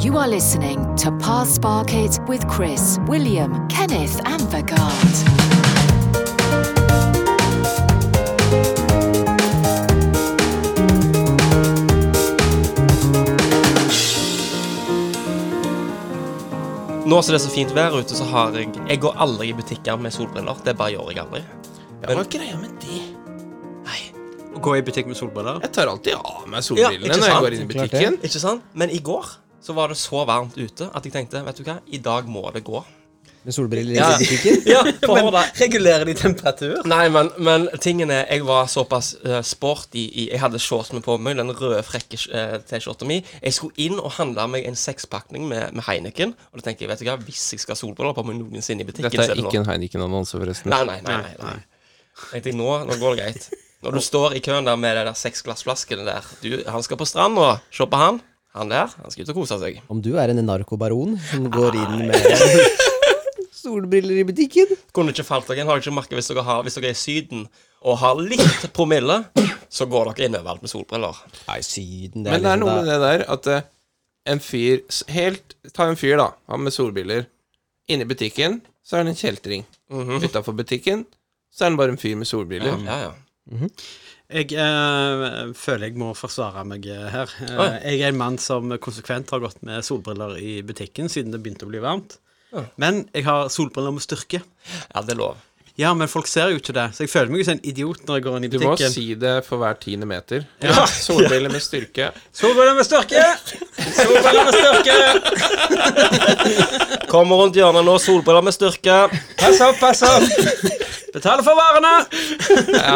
You are listening to Past Barkit with Chris, William, Kenneth, and Vagard. Nå som det er så fint vær ute, så har jeg Jeg går aldri i butikker med solbriller. Det bare gjør jeg aldri. Ja, hva er greia med det? Nei, Å gå i butikk med solbriller? Jeg tar alltid av meg Ja, solbrillene ikke når jeg sant? går inn i Klart butikken. Ikke sant? Men i går så var det så varmt ute at jeg tenkte vet du hva, i dag må det gå. Med solbriller i Ja. butikken? Ja, Men for det. regulerer de temperatur? Nei, men, men tingen er Jeg var såpass eh, sporty i Jeg hadde shortsene på meg, den røde, frekke eh, T-skjorta mi. Jeg skulle inn og handle meg en sekspakning med, med Heineken. Og da tenker jeg, vet du hva, hvis jeg skal ha solbriller på meg noensinne i butikken Dette så er det nå. ikke en Heineken-annonse, forresten. Nei, nei, nei. nei, nei. Jeg tenkte, nå, nå går det greit. Når du står i køen der med de der seksglassflaskene der du, Han skal på strand og se på han. Han der, han skal ut og kose seg. Om du er en narkobaron som går inn med solbriller i butikken? Kunne ikke falt dere inn. Har dere ikke merket hvis dere, har, hvis dere er i Syden og har litt promille, så går dere inn overalt med solbriller. Nei, Syden, Men det er noe med det. det der liksom at eh, en fyr s- helt, Ta en fyr, da, han med solbriller. Inne i butikken så er han en kjeltring. Mhm. Utafor butikken så er han bare en fyr med solbriller. Ja, ja. Jeg eh, føler jeg må forsvare meg eh, her. Eh, Å, ja. Jeg er en mann som konsekvent har gått med solbriller i butikken siden det begynte å bli varmt. Men jeg har solbriller med styrke. ja det er lov. Ja, men folk ser jo ikke det, så jeg føler meg jo som en idiot når jeg går inn i Du må butikken. si det for hver tiende meter. Ja. Solbriller med styrke. Solbriller med styrke! Solbriller med styrke! Kommer rundt hjørnet nå, solbriller med styrke. Pass opp, Sånn, pass opp! Betal for varene!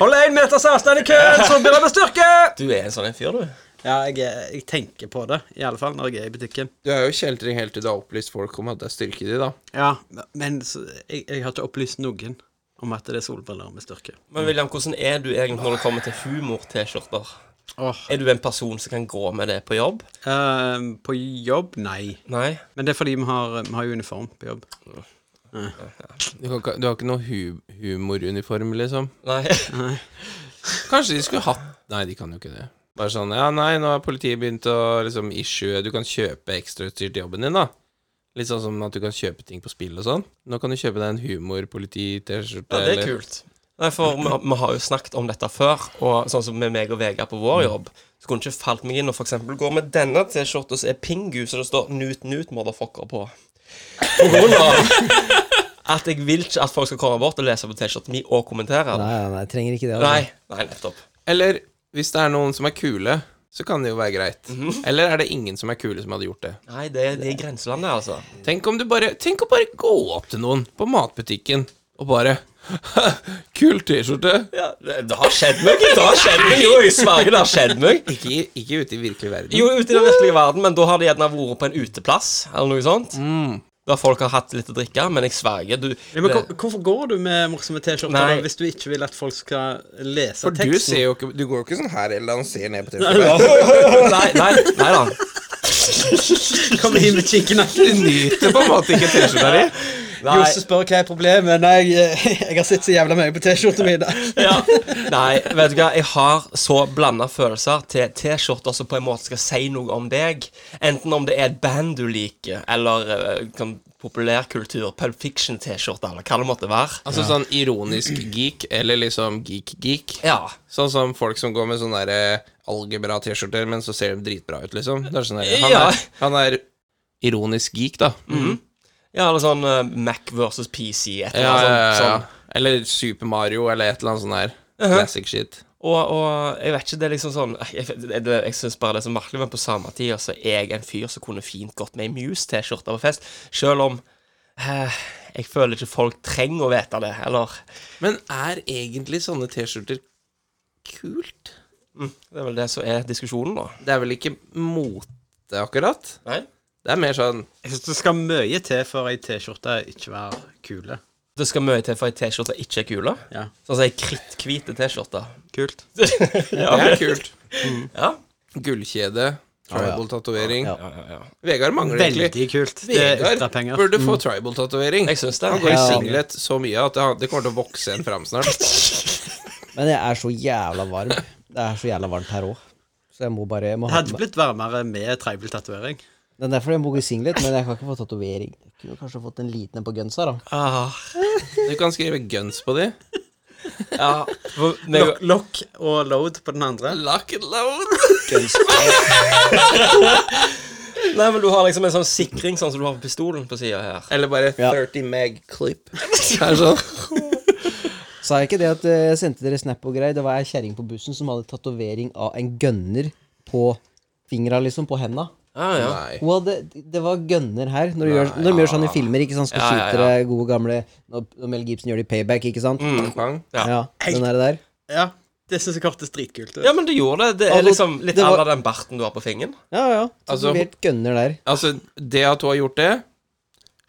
Hold én meters avstand i køen, solbriller med styrke! Du er en sånn en fyr, du. Ja, jeg, er- jeg tenker på det, i alle fall når jeg er i butikken. Du er jo kjeltring helt til du har opplyst folk om at det er styrke i de, da. Ja, men så, jeg, jeg har ikke opplyst noen om at det er solbriller med styrke. Men William, hvordan er du egentlig når det kommer til humor-T-skjorter? Åh, Er du en person som kan gå med det på jobb? eh, på jobb? Nei. Nei? Men det er fordi vi har, vi har jo uniform på jobb. Du, kan, ikke- du har ikke noe hu humoruniform, liksom? Nei. Kanskje de skulle hatt Nei, de kan jo ikke det. Bare sånn Ja, nei, nå har politiet begynt å liksom issue Du kan kjøpe ekstrautstyr til jobben din, da. Litt sånn som at du kan kjøpe ting på spill og sånn. Nå kan du kjøpe deg en humorpoliti-T-skjorte. Ja, det er eller- kult. Nei, for vi, vi har jo snakket om dette før, og sånn som med meg og Vegard på vår jobb, så kunne ikke falt meg inn og for eksempel gå med denne T-skjorta som er Pingu, så det står Nut Nut Motherfucker på. På grunn av at jeg vil ikke at folk skal komme bort og lese på T-skjorta mi og kommentere. Nei, Nei. nei, nei, trenger ikke det. altså. Nei, nettopp. Eller hvis det er noen som er kule, så kan det jo være greit. Mhm. Eller er det ingen som er kule som hadde gjort det? Nei, det, er- det er grenselandet, altså. Tenk om du bare Tenk å bare gå opp til noen på matbutikken og bare Kul T-skjorte! Ja, det, det har skjedd meg. Det har skjedd meg, jo. Jeg sverger, det har skjedd meg. Ikke, ikke ute i virkelig verden. Mm. Jo, ute i den virkelige verden, men da har de gjerne vært på en uteplass eller noe sånt. Mm. Der folk har hatt litt å drikke, men jeg sverger, du Ja, men det- hvor- Hvorfor går du med morsomme T-skjorter Nei. da, hvis du ikke vil at folk skal lese For teksten? du ser jo ikke Du går jo ikke sånn her eller han ser ned på T-skjorta. Nei, nei, nei da. Kommer inn med Du nyter på en måte ikke T-skjorta di. Nei, spør hva er problemet. Nei, jeg, jeg har sett så jævla mye på T-skjortene mine. ja. nei, vet du hva, jeg har så blanda følelser til T-skjorter som på en måte skal si noe om deg. Enten om det er et band du liker, eller eh, sånn populærkultur, Pulp Fiction-T-skjorte, eller hva det måtte være. Altså sånn ironisk geek, eller liksom geek-geek. Ja. Sånn som folk som går med sånne der, eh, algebra T-skjorter, men så ser de dritbra ut, liksom. Det er sånn der, han, Ja. Mhm. er, han er ironisk geek, da. ja, eller sånn eh, Mac versus PC, et Ja, eller annet ja, sånt. ja, ja. sånn. Uh-huh. Eller Super Mario, eller et eller annet sånn der. Classic shit. Og, og jeg vet ikke, det er liksom sånn Jeg, det- det- jeg syns bare det er så merkelig, men på samme tid så er jeg en fyr som kunne fint gått med ei Muse-T-skjorte på fest, selv om eh, jeg føler ikke folk trenger å vite det, eller Men er egentlig sånne T-skjorter kult? Det er vel det som er diskusjonen, da. Det er vel ikke mote, akkurat? Nei? Det er mer sånn Jeg synes det skal mye til for ei T-skjorte ikke være kule. Det skal mye til for ei T-skjorte ikke er kule. Ja, Sånn som ei kritthvite T-skjorte. kult. Det er kult. Ja. Gullkjede, tribal-tatovering. Ja, Vegard mangler egentlig Veldig kult. Det er ekstra Vegard penger. burde få tribal-tatovering. Jeg syns det. Han går i Ja. singlet så mye at det, det kommer til å vokse en fram snart. Men jeg er så jævla varm. Det er så jævla varmt her òg. Så jeg må bare jeg må Det ha hadde den. blitt varmere med tribal tatovering. Det er derfor jeg må gå i singlet, men jeg kan ikke få tatovering. Jeg Kunne kanskje fått en liten en på gunsa, da. Ah, Du kan skrive guns på de. ja. For, meg, Lock, lock og load på den andre. Lock and load. nei, men du har liksom en sånn sikring sånn som du har på pistolen på sida her. Eller bare Ja. 30 meg clip. Er det sånn? Sa jeg ikke det at eh, jeg sendte dere snap og greier? Det var ei kjerring på bussen som hadde tatovering av en gønner på fingra, liksom, på henda. Ah, ja. Nei. Hun hadde, det var gønner her. Når de gjør, når de gjør sånn i filmer, ikke sant, Ja, ja, ja. skyter ja, gode gamle Når når Mel Gibson gjør det i payback, ikke sant? Pang. Ja, den er det der. Ja, det syns jeg hørtes dritkult ut. ja, men du gjorde det. Det Altså, er liksom litt det à var- la den barten du har på fingeren. Ja, ja. Altså- Tatovert gønner der. Altså, det at hun har gjort det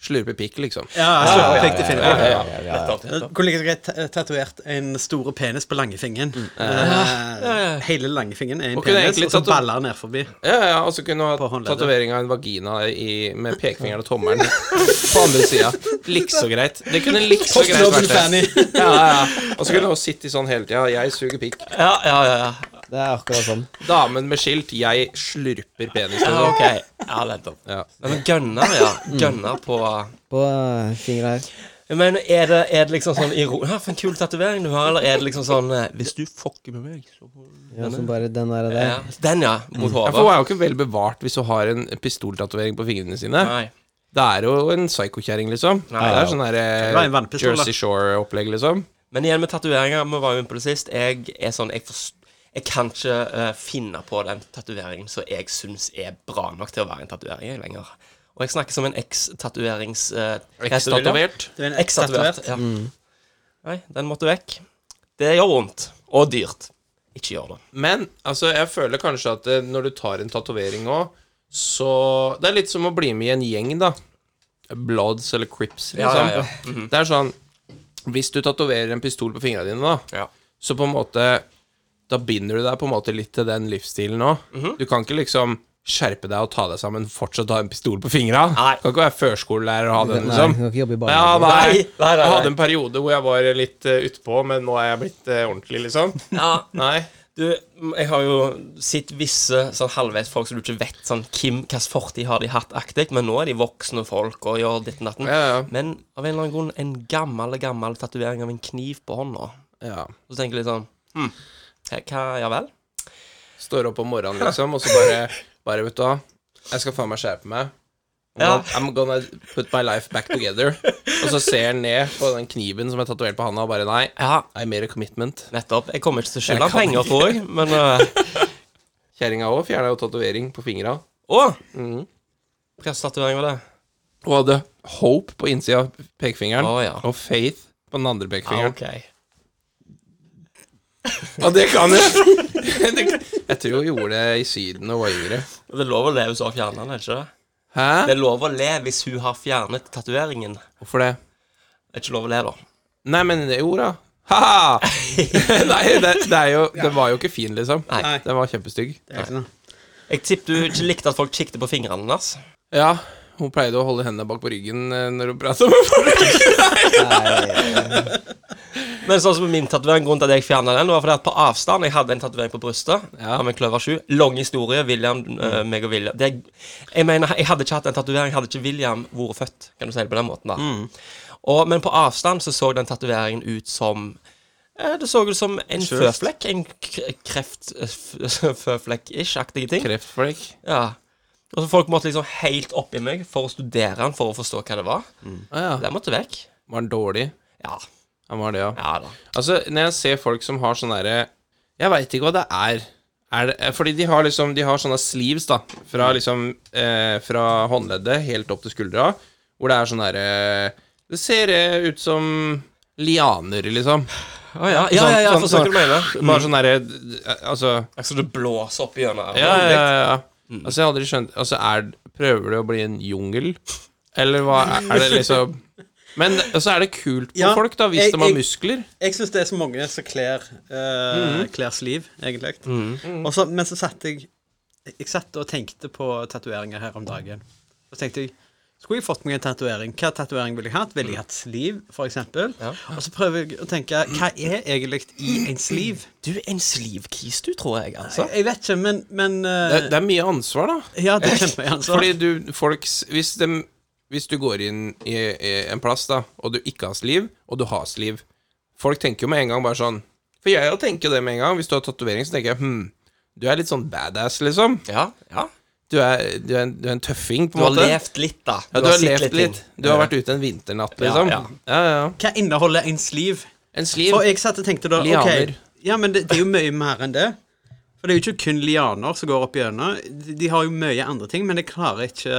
Slurpe pikk, liksom. Ja, jeg slår opp riktig film. ja, ja. Nettopp, nettopp. Kunne like så greit ta- tatovert en store penis på langefingeren. Eh, hele langefingeren er en Og kunne penis, egentlig og så tato- baller den ned forbi. Ja, ja, Og så kunne hun På hatt håndleddet. tatovering av en vagina i, med pekefingeren og tommelen på andre sida. Likså greit. Det kunne likså greit Noble vært det. Fanny. Ja, ja, ja. Og så kunne hun sitte i sånn hele tida. Jeg suger pikk. Ja, ja, ja. ja. Det er akkurat sånn. Damen med skilt. Jeg slurper penis. ja Liksom. ok. Ja, nettopp. Ja. Nei, Men gønner, ja. Gønner på På eh, fingra her. Jeg mener, er det, er det liksom sånn iro... Ja, for en kul tatovering du har, eller er det liksom sånn eh, Hvis du fucker med meg, så Mm. Ja, som bare den der. ja. der. Den, ja. Mot Ja, for hun hodet. er jo ikke vel bevart hvis hun har en pistoltatovering på fingrene sine. Nei. Det er jo en psykokjerring, liksom. det ja. er sånn der, Det var en eh, vannpistol, da. Jersey Shore-opplegg, liksom. Men igjen med tatoveringer, vi var jo inne på det sist. Jeg er sånn Jeg, forst- jeg kan ikke eh, finne på den tatoveringen som jeg syns er bra nok til å være en tatovering jeg, lenger. Og jeg snakker som en eks-tatoverings... eh, hva heter det, William? Ekstatovert. Det er en Eks-tatovert. Ja. Nei, Mm. den måtte vekk. Det gjør vondt. Og dyrt. Ikke gjør det. Men altså, jeg føler kanskje at eh, når du tar en tatovering nå, så Det er litt som å bli med i en gjeng, da. Bloods eller Crips, liksom. Ja, ja, ja. Det er sånn Hvis du tatoverer en pistol på fingrene dine, da, Ja. så på en måte Da binder du deg på en måte litt til den livsstilen nå. Mhm. Du kan ikke liksom skjerpe deg og ta deg sammen, fortsatt ha en pistol på fingra. Nei. Kan ikke være førskolelærer og ha den, Nei, du liksom. kan ikke jobbe i Ja, barnehage. Nei, nei. nei, nei, Jeg hadde nei. en periode hvor jeg var litt eh, utpå, men nå er jeg blitt eh, ordentlig, liksom. Ja, Nei. Du, jeg har jo sett visse sånn halvveis folk som du ikke vet sånn hvem, hvilken fortid har de hatt aktig, men nå er de voksne folk og gjør ditt og datten. Ja, ja. Men av en eller annen grunn en gammel, gammel tatovering av en kniv på hånda. Ja. Så tenker jeg litt sånn hm, hva, ja vel? Står opp om morgenen, liksom, og så bare, bare vet du hva Jeg skal faen meg skjerpe meg. I'm Ja. gonna- I'm gonna put my life back together. Og så ser han ned på den kniven som er tatovert på handa, og bare nei. Ja, I made a commitment. nettopp. Jeg kommer ikke til å skylde Jeg kan penger, tror jeg, men eh, Kjerringa òg fjerna jo tatovering på fingra. Å! Mm. Mhm. Hvilken tatovering var det? Hun hadde hope på innsida av pekefingeren Å, ja. og faith på den andre Ja, pekefingeren. Ah, ok. Og det kan jeg! Det- jeg tror hun gjorde det i Syden og var yngre. Det er lov å le hvis hun har fjernet den, er det ikke det? Det Hæ? er lov å le hvis hun har fjernet tatoveringen. Hvorfor det? Det er ikke lov å le, da. Nei, men jo da. Ha-ha! Nei, det, det, er jo, det var jo ikke fin, liksom. Nei. Den var kjempestygg. Det er ikke noe. Jeg tipper du ikke likte at folk kikket på fingrene hennes. Ja, hun pleide å holde hendene bak på ryggen eh, når hun prata med folk. Men sånn som min tatovering, grunnen til at jeg fjernet den, var fordi at på avstand Jeg hadde en tatovering på brystet Ja. av en kløver 7. Lang historie. William, eh, meg og William det, Jeg mener, jeg hadde ikke hatt en tatovering, hadde ikke William vært født. Kan du si det på den måten, da. Og, men på avstand så så den tatoveringen ut som eh, det så ut som en Kjøst. føflekk. En k- kreft... eh, f- Føflekk-ish-aktige ting. Kreftflekk. Ja. Og så folk måtte liksom helt oppi meg for å studere den for å forstå hva det var. Ah, ja. Den måtte vekk. Var den dårlig? Ja. Han var det, ja. Ja da. Altså, når jeg ser folk som har sånn derre Jeg veit ikke hva det er. er det, fordi de har liksom De har sånne sleeves, da. Fra liksom eh, Fra håndleddet helt opp til skuldra. Hvor det er sånn derre Det ser eh, ut som lianer, liksom. Å ja. Ja, ja, Sånn- ja, jeg forstår hva du mener. Bare sånn derre Altså Altså, du blåser opp gjennom Ja, ja, ja. ja. Altså, jeg har aldri skjønt Altså, er, Prøver du å bli en jungel? Eller hva er, er det liksom Men så altså, er det kult på Ja, folk, da, hvis jeg- de har jeg- muskler. Jeg syns det er så mange som kler uh, kler sliv, egentlig. Og så- men så satt jeg Jeg satt og tenkte på tatoveringer her om dagen. Så tenkte jeg Skulle jeg fått meg en tatovering? Hva tatovering ville jeg hatt? Ville jeg hatt sliv, f.eks.? Ja. Og så prøver jeg å tenke hva er egentlig i en sliv? Du er en slivkis, du, tror jeg, altså. Jeg, jeg vet ikke, men, men Det, eh, det er mye ansvar, da. Ja, det er kjempeansvar. Fordi du, folks hvis, dem- hvis du går inn i, i en plass, da, og du ikke har sliv, og du har sliv Folk tenker jo med en gang bare sånn For jeg tenker jo det med en gang. Hvis du har tatovering, så tenker jeg hm, du er litt sånn badass, liksom. Ja, ja. Du er, du er, en, du er en tøffing, på Du en har måte. levd litt, da. ja, du har levd litt. ting. Du har vært ute en vinternatt, liksom. Ja, ja. ja. ja, Hva inneholder en sliv? En sliv. For jeg satt og tenkte da ok, Lianer. Ja, men det, det er jo mye mer enn det. For det er jo ikke kun lianer som går opp gjennom. De, de har jo mye andre ting, men jeg klarer ikke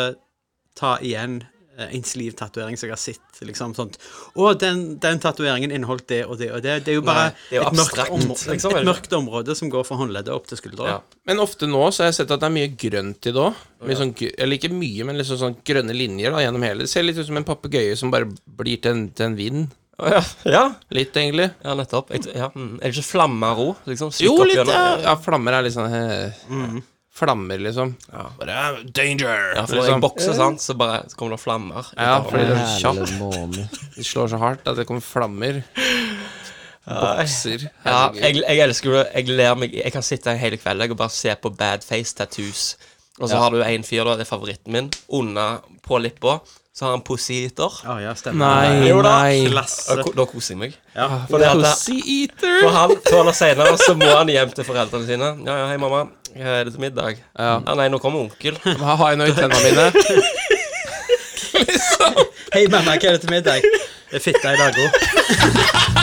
ta igjen eh, en slivtatovering som jeg har sett. liksom sånt. Å, den, den tatoveringen inneholdt det og det og det. Det er jo bare Nei, det er jo et, mørkt abstrakt, område, liksom, et eller? mørkt område som går fra håndleddet opp til skuldra. Ja. Men ofte nå så har jeg sett at det er mye grønt i det òg. Sånn, gr- eller ikke mye, men liksom sånn grønne linjer da, gjennom hele. Det ser litt ut som en papegøye som bare blir til en, til en vind. Ja, ja. Litt, egentlig. ja nettopp. Jeg, tror- ja. mm. Er det ikke flammero? Liksom, slikker Jo, opp litt. Ja, gjennom- ja flammer er litt sånn eh, Flammer, liksom. Bare eh, danger! Ja, for når jeg bokser, sant, så bare så kommer det flammer. Liksom. Ja, utover. fordi det er så Herlig kjapt. måne. Det slår så hardt at det kommer flammer. Bokser. Ja, Herregud. jeg, jeg elsker jo det. Jeg ler meg Jeg kan sitte her hele kvelden jeg, og bare se på bad face tattoos. Og så har du en fyr, da, det er favoritten min, under på lippa, så har han pussy-eater. Ah, ja, stemmer. Nei, Jo da. nei. Klasse. Da ko- da koser jeg meg. Ja. Fordi at det- Pussy eater! For han, før eller senere, så må han hjem til foreldrene sine. Ja, ja, hei, mamma. Hva Er det til middag? Ja. nei, nå kommer onkel. Hva har jeg nå i tenna mine? Hei, mamma, hva er det til middag? Det er fitte i dag òg.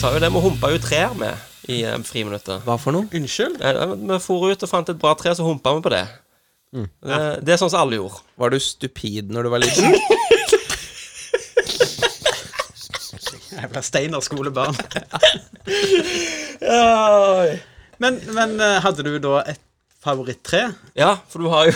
Sa jo det, vi humpa jo trær med i eh, friminuttet. Hva for noe? Unnskyld? Nei, nei, Vi for ut og fant et bra tre, så humpa vi på det. Det, det er sånn som alle gjorde. Var du stupid når du var liten? Jeg ble Steinar-skolebarn. Ja, Men, men eh, hadde du da et favoritttre? for du har jo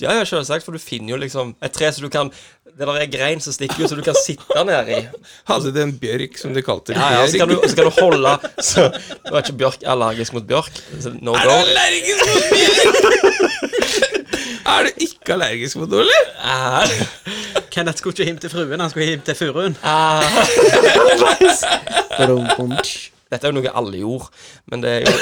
Ja, ja, selvsagt, for du finner jo liksom et tre som du kan Det der er grein som stikker ut, som du kan sitte ned i. Hadde du en bjørk, som de kalte det? Ja, ja, så kan du, så kan du holde så, Du er ikke bjørk allergisk mot bjørk. Så no Er du go. allergisk mot bjørk? er du ikke allergisk mot noe, eller? Ah. Kenneth skulle ikke hjem til fruen, han skulle hjem til furuen. Brum-bum-tsch. Dette er jo noe alle gjorde, men det er jo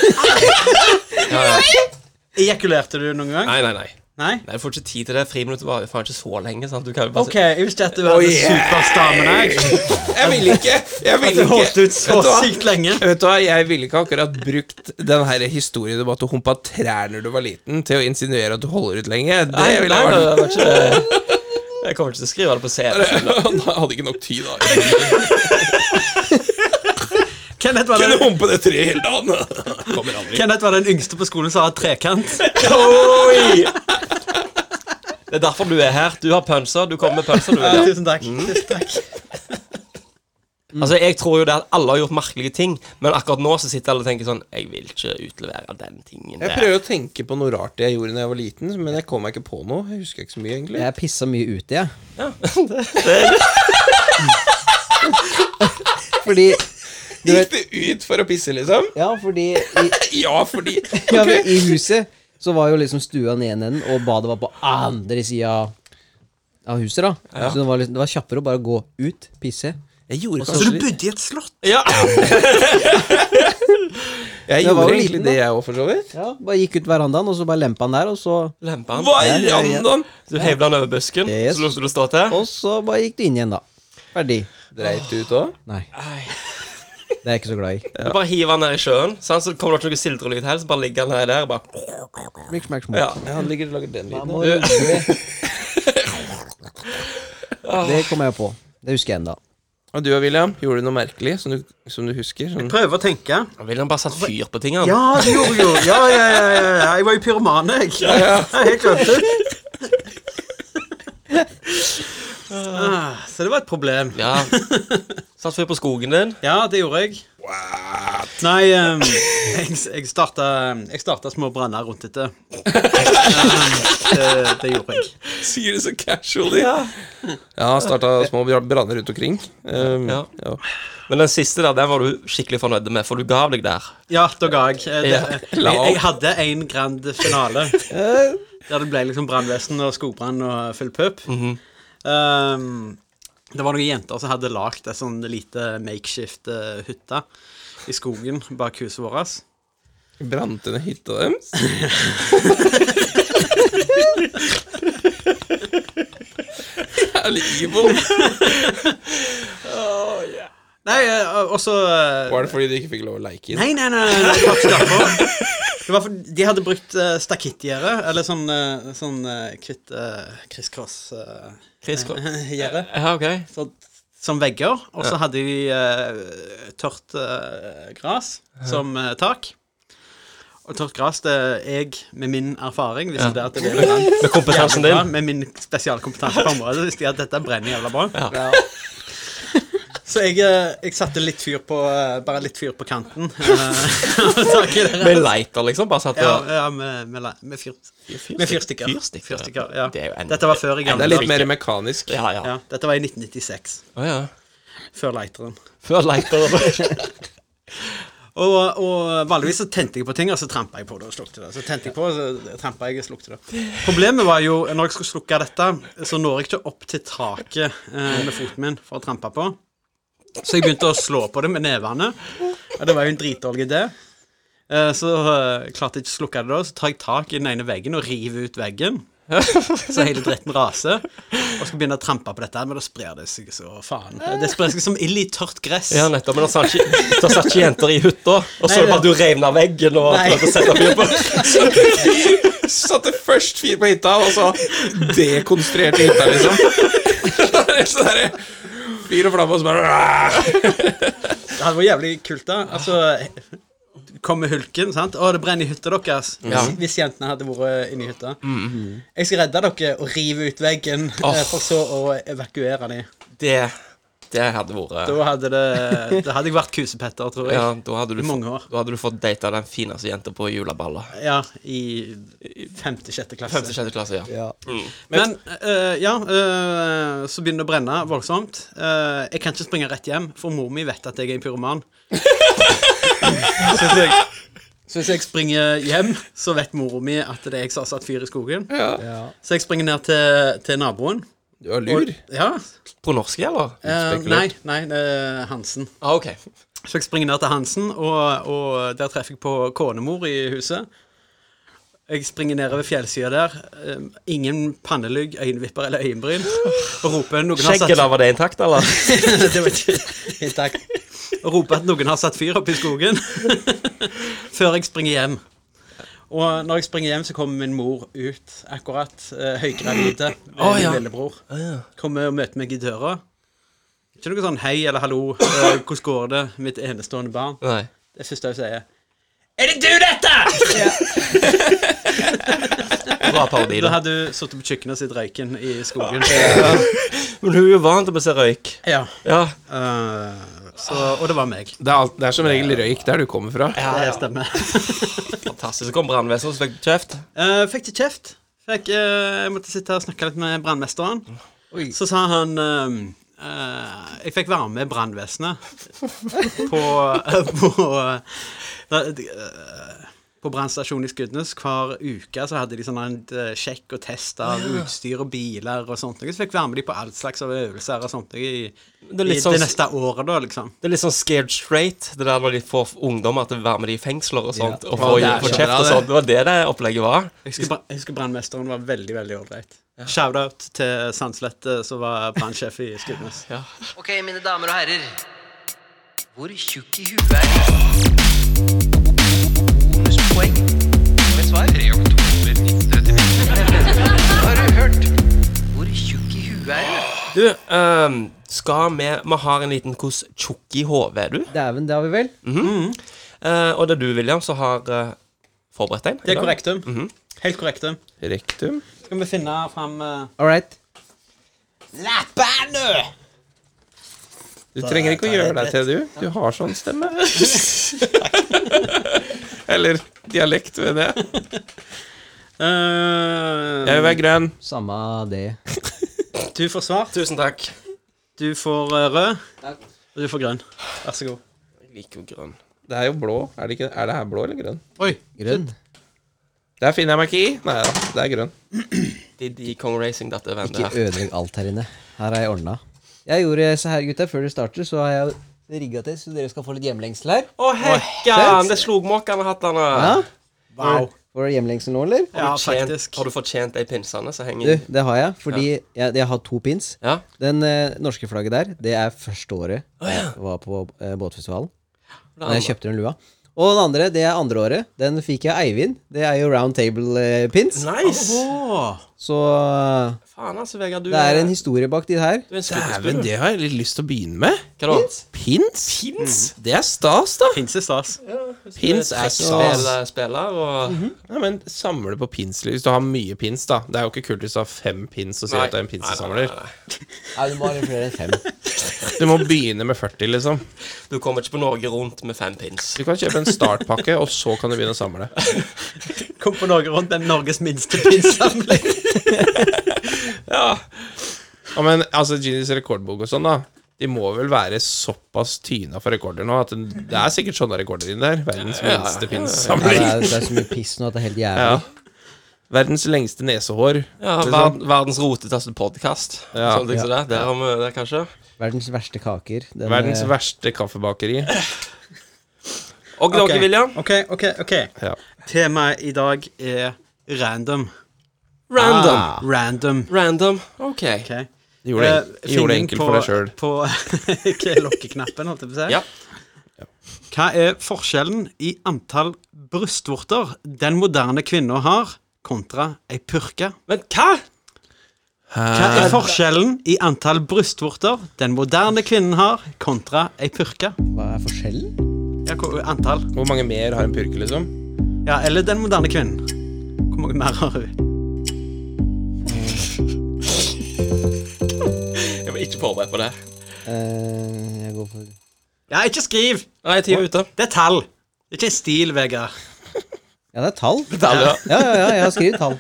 Ejakulerte du noen gang? Nei, nei, nei. Nei? Altså- Nei, Du får ikke tid til det. Friminuttet var jo faen ikke så lenge. sant? Du kan jo bare Ok, jeg visste at du hadde superstamina. jeg. Jeg ville ikke. Jeg At du ville ikke. holdt ut så Vet du hva? sykt lenge. Vet du hva, Jeg ville ikke akkurat brukt den her historien om at du humpa trær når du var liten, til å insinuere at du holder ut lenge. Det Nei, ville nei, nei, jeg vært det var ikke det. Jeg kommer ikke til å skrive det på CV. Han hadde ikke nok tid, da. Kenneth var, Kunne den, humpe det treet hele dagen. Kommer aldri. Kenneth var den yngste på skolen som hadde trekant. Oi! Det er derfor du er her. Du har pønser. Du kommer med pønser, du. Ja, William. tusen takk. Mm. Tusen takk. Altså, Jeg tror jo det at alle har gjort merkelige ting, men akkurat nå så sitter alle og tenker sånn Jeg vil ikke utlevere den tingen Jeg der. prøver å tenke på noe rart jeg gjorde da jeg var liten, men jeg kom meg ikke på noe. Jeg husker ikke så mye, egentlig. Jeg pissa mye ute, jeg. Fordi du vet, Gikk det ut for å pisse, liksom? Ja, fordi i, Ja, fordi ja, men Ok. i huset så var jo liksom stua den ene enden, og badet var på andre sida av huset, da. Så det var, liksom, det var kjappere å bare gå ut, pisse. Jeg gjorde Så kanskje du litt- bodde i et slott? Ja. Jeg Jeg var gjorde jo egentlig liten, da. det, jeg òg, for så vidt. Ja, Bare gikk ut verandaen, og så bare lempa han der, og så Lempe han. Verandaen! Du heiv han over busken, Yes. så lot du det stå til. Og så bare gikk du inn igjen, da. Ferdig. Dreit du ut òg? Nei. Det er jeg ikke så glad i. Du bare hiver han ned i sjøen, sant? så kommer det ikke noe sildrelyd her, så bare ligger han nedi der. og Bare. Smack, smack, smack. Ja. Han ligger og lager den Da lyden. må du det. det kom jeg på. Det husker jeg ennå. Og du og William, gjorde du noe merkelig som du, som du husker? Som, Prøve å tenke. William bare satte fyr på ting, han. Ja, det gjorde jo. Ja, ja, ja, ja, ja. Jeg var jo pyroman, jeg. Jeg helt glemte det. Ah, så det var et problem. Ja. Satt fyr på skogen din. Ja, det gjorde jeg. Nei, ehm, jeg, jeg, starta, jeg starta små branner rundt dette. Ehm, det, det gjorde jeg. Sier det så casually. Ja, han starta små branner rundt omkring. Um, Ja. ja. Men den siste der, den var du skikkelig fornøyd med, for du gav deg der. Ja, da ga jeg. Eh, Det, jeg, la opp. jeg hadde en grand finale. Der det ble liksom brannvesen og skogbrann og full pup. Ehm, det var noen jenter som hadde lagd et sånn lite makeshift eh, hytte i skogen bak huset vårt. Brant ned hytta deres? Jævlig evil. Nei, eh, og så eh, Var det fordi de ikke fikk lov å leke i det? Nei, nei, nei, nei, det var ikke derfor. Det var for, de hadde brukt uh, stakittgjerde, eller sånn, eh, sånn eh, kvitt uh, kriss-kross-gjerde, Ja, ok. som vegger. Og så hadde de eh, tørt eh, gras som eh, tak. Og tørt gras, det er jeg, med min erfaring hvis det er at det er langt, Med kompetansen jævlig bra, din. Med min spesialkompetanse på området visste jeg at dette brenner jævla bra. Ja. Så jeg, eh, jeg satte litt fyr på eh, bare litt fyr på kanten. eh, av taket der. Med lighter, liksom. Bare satt Ja, og ja med, med, la- med, fyr, med Fyrstikker, fyrstikker. ja. Fyrstikker, ja. Det er jo en- Dette var før i Det gamle er litt dager. mer mekanisk. Ja, ja. Ja, dette var i 1996, Å, ja. før lighteren. Før lighter. Og, og vanligvis så tente jeg på ting, og så trampa jeg på det og slukte det. Så tente jeg på, så trampa jeg og slukte det. Problemet var jo, når jeg skulle slukke dette, så når jeg ikke opp til taket eh, med foten min for å trampe på. Så jeg begynte å slå på det med nevene, og det var jo en dritdårlig idé. Eh, Så eh, klarte jeg ikke å slukke det da, så tar jeg tak i den ene veggen og river ut veggen. Så hele dritten raser, og skal begynne å trampe på dette, her, men da sprer det seg så faen. Det sprer seg som ild i tørt gress. Ja, nettopp. Men da satt ikke, da satt ikke jenter i hytta, og så Nei, det- bare du rev ned veggen og Nei. prøvde å sette fyr på. Satte først fyr på hytta, og så dekonstruerte hytta, liksom. Det er sånn der, Fyr og flamme, og så bare Det hadde vært jævlig kult, da. Altså, Kommer hulken, sant? Å, det brenner i hytta deres. Hvis, hvis jentene hadde vært inni hytta. Jeg skal redde dere og rive ut veggen, eh, for så å evakuere dem. Det, det hadde vært Da hadde det Da hadde jeg vært kusepetter, tror jeg. ja, Ja, da hadde, du, I fått- mange år. da hadde du fått data den fineste jenta på juleballet. i femte-sjette klasse. Femte-sjette klasse, ja. Ja. Men eh, ja, eh, så begynner det å brenne voldsomt. Eh, jeg kan ikke springe rett hjem, for mor mi vet at jeg er en pyroman. så, hvis jeg, så hvis jeg springer hjem, så vet mora mi at det er jeg som har satt fyr i skogen. Så jeg springer ned til, til naboen. Du er lur. Ja, På norsk, eller? eh, Spekulert. Nei, nei, det er Hansen. Ah, ok. Så jeg springer ned til Hansen, og, og der treffer jeg på konemor i huset. Jeg springer nedover fjellsida der. eh, ingen pannelugg, øyenvipper eller øyenbryn. Og roper noen har satt Skjegget der, var det intakt, eller? det var ikke helt takk. Og rope at noen har satt fyr oppe i skogen. Før jeg springer hjem. Og når jeg springer hjem, så kommer min mor ut akkurat. Uh, Høygravide. Med Å, min ja. lillebror. Kommer og møter meg i døra. Ikke noe sånn 'hei' eller 'hallo', eh, 'hvordan går det', mitt enestående barn. Nei. Det første hun sier. Er det du, dette?! Bra parodi, Da da. hadde hun sittet på kjøkkenet og sett røyken i skogen. Men hun er jo vant til å se røyk. Ja. Ja. Eh, så, og det var meg. Det er, alt, det er som regel røyk der du kommer fra. Det stemmer. Fantastisk. Så kom brannvesenet og så fikk du kjeft. Eh, fikk ikke kjeft. Fikk, eh, jeg måtte sitte og snakke litt med brannmesteren. Så sa han eh, eh, Jeg fikk være med brannvesenet på, eh, på, da- eh, på brannstasjonen i Skudenes. Hver uke så hadde de sånn en eh, sjekk og test av utstyr og biler og sånt. noe. Så fikk jeg være med de på all slags av øvelser og sånt noe i, Det er litt i sånn- det neste året, da, liksom. Det er litt sånn scared straight, det der når de får ungdommer til å være med de i fengsler og sånt, og Å, få det er få så kjeft bra, og det. sånt. Det var det det opplegget var. Jeg husker, bra- jeg husker brannmesteren var veldig, veldig ålreit. Shout-out til Sandslett, eh, som var brannsjef i Skudenes. Ok, mine damer og herrer. Hvor tjukk i huet er de? Bonuspoeng. Med svar. 3 oktober 1939. Har du hørt? Hvor tjukk i huet er du? Du, ehm, skal vi Vi har en liten Hvordan tjukk i hodet er du? Dæven, det har vi vel? Eh, og det er du, William, som har eh, forberedt en. Det er eller? korrektum. Mhm. Helt korrektum. Rektum. Skal vi finne eh, fram uh, All right. Du trenger ikke å gjøre deg til, du. Du har sånn stemme. Eller dialekt, ved det. Eh, Jeg vil være grønn. Samme det. du får svart, Tusen takk. du får eh, rød, og du får grønn. Vær så god. Jeg liker jo grønn. Det er jo blå. Er det, ikke, er det her blå eller grønn? Oi. Grønn. Der finner jeg meg ikke i. Nei da, det er grønn. Didi Kong Racing, dette er hvem det Ikke er. ødelegg alt her inne. Her har jeg ordna. Jeg gjorde så her, gutta, før dere starter, så har jeg rigga til, så dere skal få litt hjemlengsel her. Å, hekkan! Det er slogmåkerhattene. Ja? Wow. Får dere hjemlengsel nå, eller? Ja, Har du tjent- faktisk. Har du fortjent de pinsene som Du, henger i? det har jeg, fordi jeg, jeg har to pins. Ja? Den eh, norske flagget der, det er første året Å, ja. jeg var på eh, båtfestivalen. Det Da jeg andre. kjøpte den lua. Og den andre, det er andre året. Den fikk jeg av Eivind. Det er jo Round Table eh, Pins. Nice! Åh. Så eh, Faen, altså, Vegard, du det er en historie bak de her. Du er en Dæven, skuespiller. du. det har jeg litt lyst til å begynne med. Hva da? Pins? Mm. Det er stas, da. Pins er stas. Pins er stas. Spiller, spiller og Nei, men Samle på pins hvis du har mye pins, da. Det er jo ikke kult hvis du har fem pins og sier Nei. at du er en Nei, pinsesamler. nei, nei, nei. Nei, du må ha flere enn fem. Du må begynne med 40, liksom. Du kommer ikke på Norge rundt med fem pins. Du kan kjøpe en startpakke, og så kan du begynne å samle. Kom på Norge rundt den Norges minste pinsamling. Ja, men altså, Genies rekordbok og sånn, da. De må vel være såpass tyna for rekorder nå at det det er sikkert sånne rekorder inni der. Verdens minste Nei, det, pinssamling. er, det er så mye piss nå at det er helt jævlig. Ja. Verdens lengste nesehår. Ja, Det er ver sånn. Verdens roteteste podkast. Ja. Sånne ting som det. Der har vi det, kanskje. Verdens verste kaker. Den, Verdens eh, verste kaffebakeri. Og dere, William? OK, OK. ok Ja. Temaet i dag er random. Ah, Random. Random. Random. Ah. OK. OK. Du gjorde det, Eh, du gjorde det finning enkelt for deg sjøl. På, på lokkeknappen, holdt jeg på å si. Ja. Hva er forskjellen i antall brystvorter den moderne kvinna har, kontra ei purke? Men hva? Hva er forskjellen i antall brystvorter den moderne kvinnen har, kontra ei purke? Hva er forskjellen? Ja, hvor- antall. Hvor mange mer har en purke, liksom? Ja, eller den moderne kvinnen. Hvor mange mer har hun? Jeg var ikke forberedt på det. Eh, jeg går for Ja, ikke skriv! Nei, tida er ute. Det er tall. Det er ikke en stil, Vegard. Ja, det er tall. Detalj, ja. Ja, ja, ja, jeg har skrevet tall.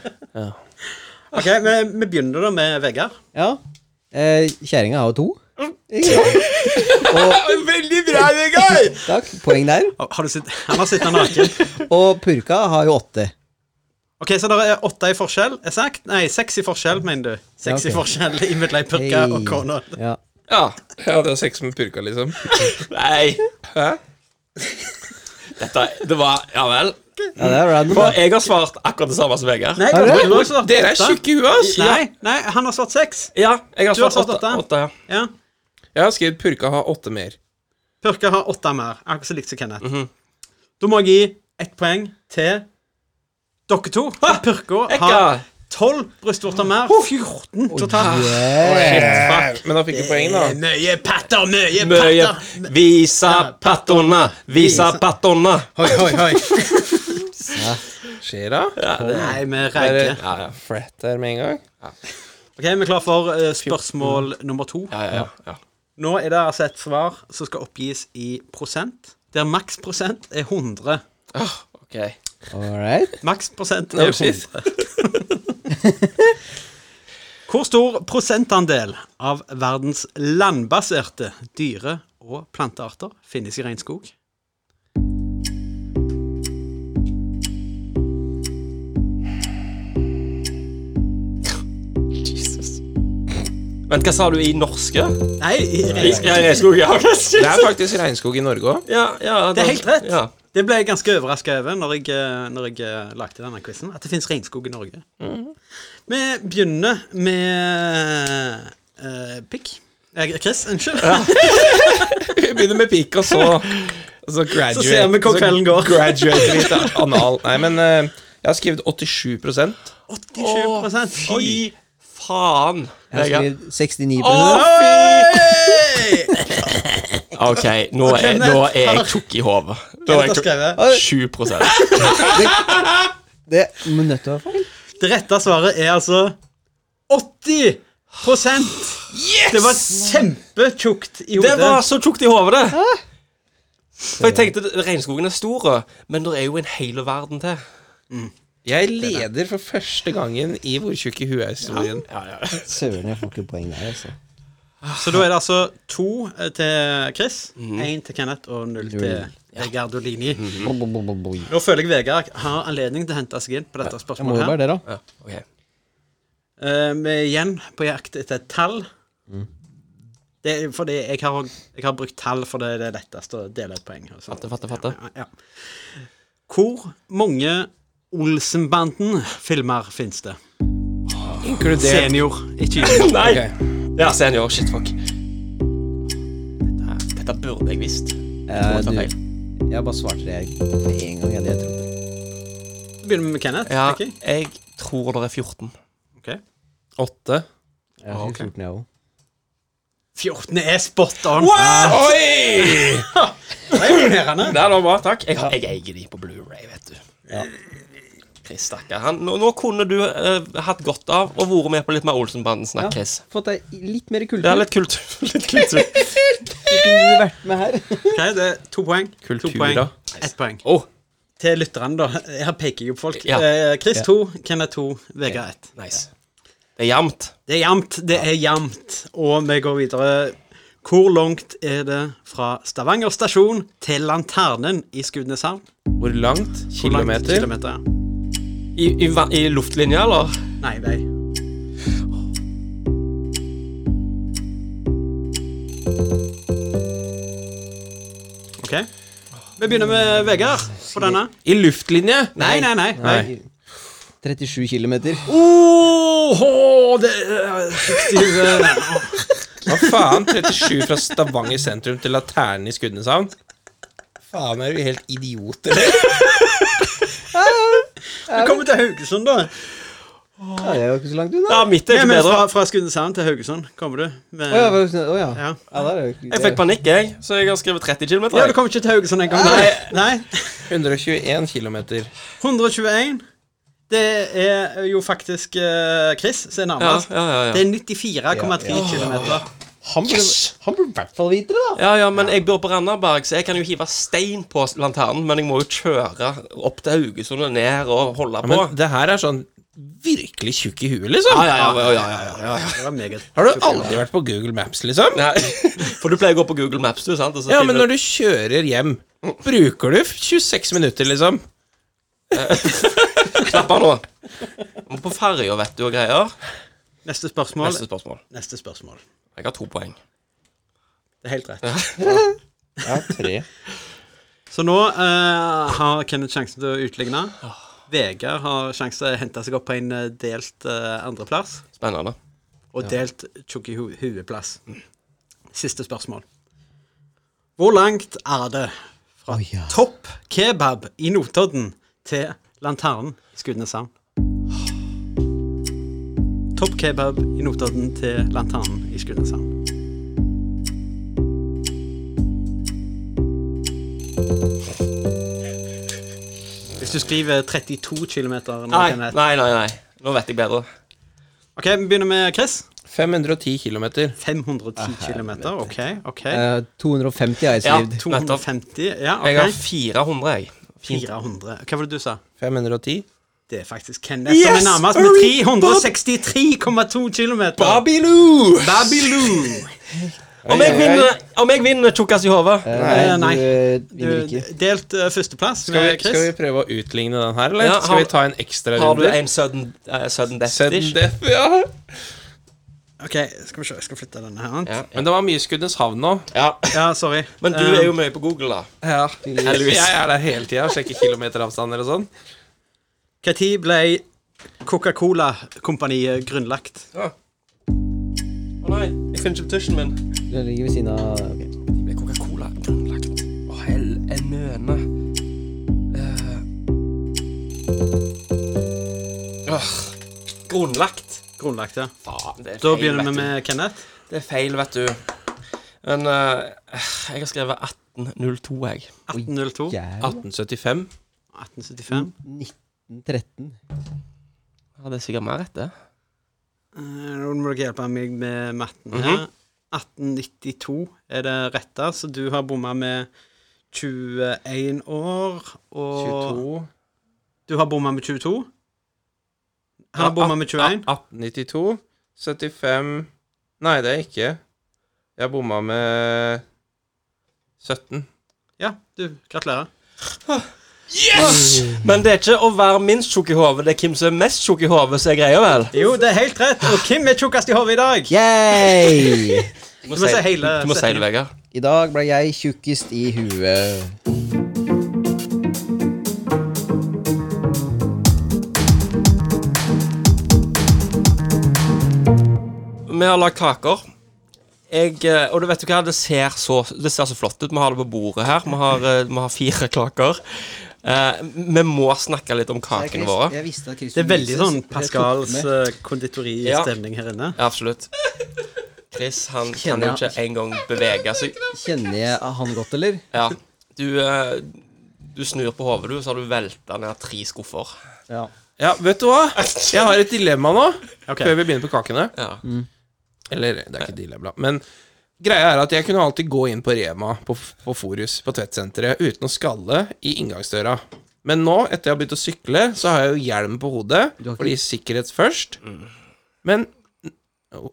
Ok, Vi, vi begynner da med Vegard. Ja. Eh, Kjerringa har jo to. Ikke sant? Veldig bra, Vegard! Takk. Poeng der. Har- Har du sitt, han har sittet naken. Og purka har jo åtte. Ok, Så det er åtte i forskjell? Er sagt? Nei, seks i forskjell, mener du. Seks Ja, i ok. forskjell i mellom ei purke og Hei. kona. Ja. Ja. ja, det er seks med purka, liksom. Nei. Hæ? Dette Det var Ja vel. ja, det er random. For da. jeg har svart akkurat det samme som Vegard. Nei, det? du har også svart Dere er åtte. tjukke i huet, ass! Nei, nei, han har svart seks. Ja, jeg har Du har svart svart åtte. åtte. åtte ja. Ja. Jeg har skrevet 'purka har åtte mer'. Purke har åtte mer. Akkurat så likt som Kenneth. Mhm. Da må jeg gi ett poeng til dere to. for Purka har Hekka! tolv brystvorter mer. 14 totalt. Yeah. Eh. Fuck. Men da fikk du poeng, da. Mye patter, mye Møye patter. Visa pattona! Visa pattona! Hoi, hoi, hoi. Skjer da? Nei, vi Er det reiker. ja, ja, flat der med en gang? Ok, Vi er klar for eh, spørsmål nummer to. Ja, ja, ja. Nå er det altså et svar som skal oppgis i prosent, der maks prosent er 100. OK. All right. Maks prosent er 100. Hvor stor prosentandel av verdens landbaserte dyre- og plantearter finnes i regnskog? Vent, hva sa du i norske? Nei, i I, regnskog. ja, jeg skulle, ja, ok, shit. Det er faktisk regnskog i Norge òg. ja, ja, Det er helt rett. Ja. Det ble jeg ganske overraska over når jeg, eh, når jeg eh, lagde denne quizen, at det finnes regnskog i Norge. Vi begynner med eh, pikk. Eh, Chris, unnskyld. Vi begynner med pikk, og så og Så, graduate, Så ser vi hvor så kvelden går. graduater vi til anal. Nei, men eh, jeg har skrevet 87 87 Fy faen. Jeg har Vegard. skrevet 69 Å, fy! OK, nå er, nå er jeg tjukk i hodet. Nå er jeg tjukk. Skrevet. 7 Det må nødt til å være feil. Det rette svaret er altså 80 prosent! Det var kjempetjukt i hodet. Det var så tjukt i hodet, det! For jeg tenkte at regnskogen er stor, men det er jo en hel verden til. Jeg leder for første gangen i Hvor tjukk i huet er-historien. Søren, jeg får ikke poeng der, altså. Så da er det altså to eh, til Chris, Mhm. én til Kenneth og null til Gardolini. Nå føler jeg Vegard har anledning til å hente seg inn på dette Jeg må spørsmålet. jo her. være det, da. Ja, ok. Eh, vi er igjen på jakt etter et tall. Mhm. Det er fordi jeg har, jeg har brukt tall, for det er det letteste å dele et poeng. altså. og sånt. Fatte, fatte, fatte. Ja. Hvor mange Olsenbanden-filmer fins det? Inkludert Senior, ikke junior. Nei! Ok. Ja, senior. Shit, fuck. Dette, dette burde jeg visst. Eh, ta du, feil. jeg bare svarte det jeg- med en gang. Jeg, det jeg trodde. Begynner vi med Kenneth? Ja, tenker jeg. jeg tror det er 14. Ok. åtte. Jeg Ah, er 14, jeg også. 14 er spot on. Ah. Oi! Det er imponerende. Det var bra. Takk. Jeg, har- jeg eier de på Blu-ray, vet du. Chris, stakkar. Han- Nå, nå kunne du eh, hatt godt av å være med på litt mer Olsenbanden-snakk, Chris. Fått deg litt mer kultur. Det er litt kult. litt kult. kunne du vært med her. Ok, det er to poeng. Kultura. To poeng. Ett poeng. Oh. Til lytterne, da. Her peker jeg opp folk. Ja. Eh, Chris to, Kenneth to, Vegard ett. Nice. Det er jevnt. Det er jevnt. Det er jevnt. Og vi går videre. Hvor langt er det fra Stavanger stasjon til Lanternen i Skudeneshavn? Hvor langt? Hvor langt? Kilometer? Kilometer. I, i, va- i luftlinja, eller? Nei, nei. OK. Vi begynner med Vegard på denne. I luftlinje? Nei, nei, nei. Nei. 37 kilometer. Uh! Åh, åh, det er riktig hue. Hva faen? 37 fra Stavanger sentrum til Laternen i Skudeneshavn? Faen, er du helt idiot, eller? Vi kommer til Haugesund, da. Ja, det er jo ikke så langt unna. Ja, mitt er Ja, ikke men bedre. fra, fra Skudeneshavn til Haugesund kommer du. Å Med, ja, ja, var det sånn- å ja. Ja. Ja, der er jo ikke Jeg fikk panikk, jeg, så jeg har skrevet 30 km. du kommer ikke til Haugesund engang. Nei. nei. 121 kilometer. 121. Det er jo faktisk eh, Chris som er Ja, nærmest. ja, ja, ja. Det er 94,3 km. Han burde han burde i hvert fall vite det, da. ja, ja, men jeg bor på Randaberg, så jeg kan jo hive stein på lanternen, men jeg må jo kjøre opp til Haugesund og ned og holde Ja, på. men det her er sånn virkelig tjukk i huet, liksom. Ja, ja, ja, ja, ja, ja, ja. Det var meget. Har du aldri vært på Google Maps, liksom? Nei. For du pleier å gå på Google Maps, du, sant? Og så Ja, skriver men du- når du kjører hjem, bruker du 26 minutter, liksom? Slapp av nå. Må På ferja, vet du, og greier. Neste spørsmål. Neste Neste, spørsmål. spørsmål. Jeg har to poeng. Det er helt rett. Ja, tre. Så nå eh, har Kenneth sjansen til å utligne. Vegard har sjansen til å hente seg opp på en eh, delt eh, andreplass. Spennende. og delt tjukk i hu- hueplass. Siste spørsmål. Hvor langt er det fra topp kebab i Notodden til lanternen i Skudeneshavn? Topp kebab i Notodden til lanternen i Skudeneshavn. Hvis du skriver 32 km Nei, nei, nei. nei. Nå vet jeg bedre. OK, vi begynner med Chris. 510 kilometer. 510 km, OK. ok Eh, 250 har jeg Ja. skrevet. 250 Ja, Jeg har OK. 400, jeg. Fint. 400. Hva var det du sa? 510. Det er faktisk Kenneth som er nærmest med 363,2 km. Babyloo! Babyloo. Om jeg vinner, om jeg vinner tjukkas i hodet Eh, nei. Du, du vinner Du, ikke. delt eh, førsteplass Skal vi, med skal vi Chris. prøve å utligne den her, eller? Ja, har- skal vi ta en ekstra har du runde? en sudden, eh, sudden death Sudden dish. death, ja. OK, skal vi se. Jeg skal flytte denne her. Ja. Men det var mye Skudeneshavn nå. Ja. Um, Ja, sorry. Men du Eh, er jo mye på Google, da. Ja. Heldigvis. Jeg er der hele tida og sjekker kilometeravstander og sånn. Hva tid ble Coca-Cola-kompaniet grunnlagt? Å nei, jeg finner ikke tusjen min. Den ligger ved siden av ok. Ble Coca-Cola grunnlagt? Å, hell en nøne. Eh. Åh, Grunnlagt? Grunnlagt, ja. Faen, det er Da feil, begynner vet vi du. med Kenneth. Det er feil, vet du. Men eh, jeg har skrevet 1802, jeg. 1802. Jævla. 1875. 1875. 1913. Ja, det er sikkert mer rett, det. Eh, Nå må dere hjelpe meg med matten her. 1892 er det rette, så du har bomma med 21 år. Og 22 du har bomma med 22? Han har bomma med 21? 1892. 75 Nei, det er jeg ikke. Jeg bomma med 17. Ja, du, gratulerer. Men det er ikke å være minst tjukk i hodet, det er hvem som er mest tjukk i hodet, som er greia, vel? Jo, det er helt rett. Og hvem er tjukkest i hodet i dag? Yay! Du må si si- hele Du må si det, setningen. Vegard. I dag ble jeg tjukkest i huet. Vi har lagd kaker. Jeg, eh, og du vet jo hva, det ser, så, det ser så flott ut. Vi har det på bordet her. Vi har, eh, vi har fire kaker. Eh, vi må snakke litt om kakene våre. Jeg visste at Det er veldig sånn Pascals eh, konditoristemning her inne. Ja, absolutt. Chris han kan jo Kjenner ikke engang bevege seg. Kjenner jeg han godt, eller? Ja. Du, eh, du snur på hodet, du, så har du velta ned tre skuffer. Ja. Ja, vet du hva? Jeg har et dilemma nå, Ok. før vi begynner på kakene. Ja. Mm. Eller, det er ikke dilemma, men greia er at jeg kunne alltid gå inn på Rema, på, på Forus, på Tvettsenteret, uten å skalle i inngangsdøra. Men nå, etter jeg har begynt å sykle, så har jeg jo hjelm på hodet, Du har ikke- fordi sikkerhet først. Men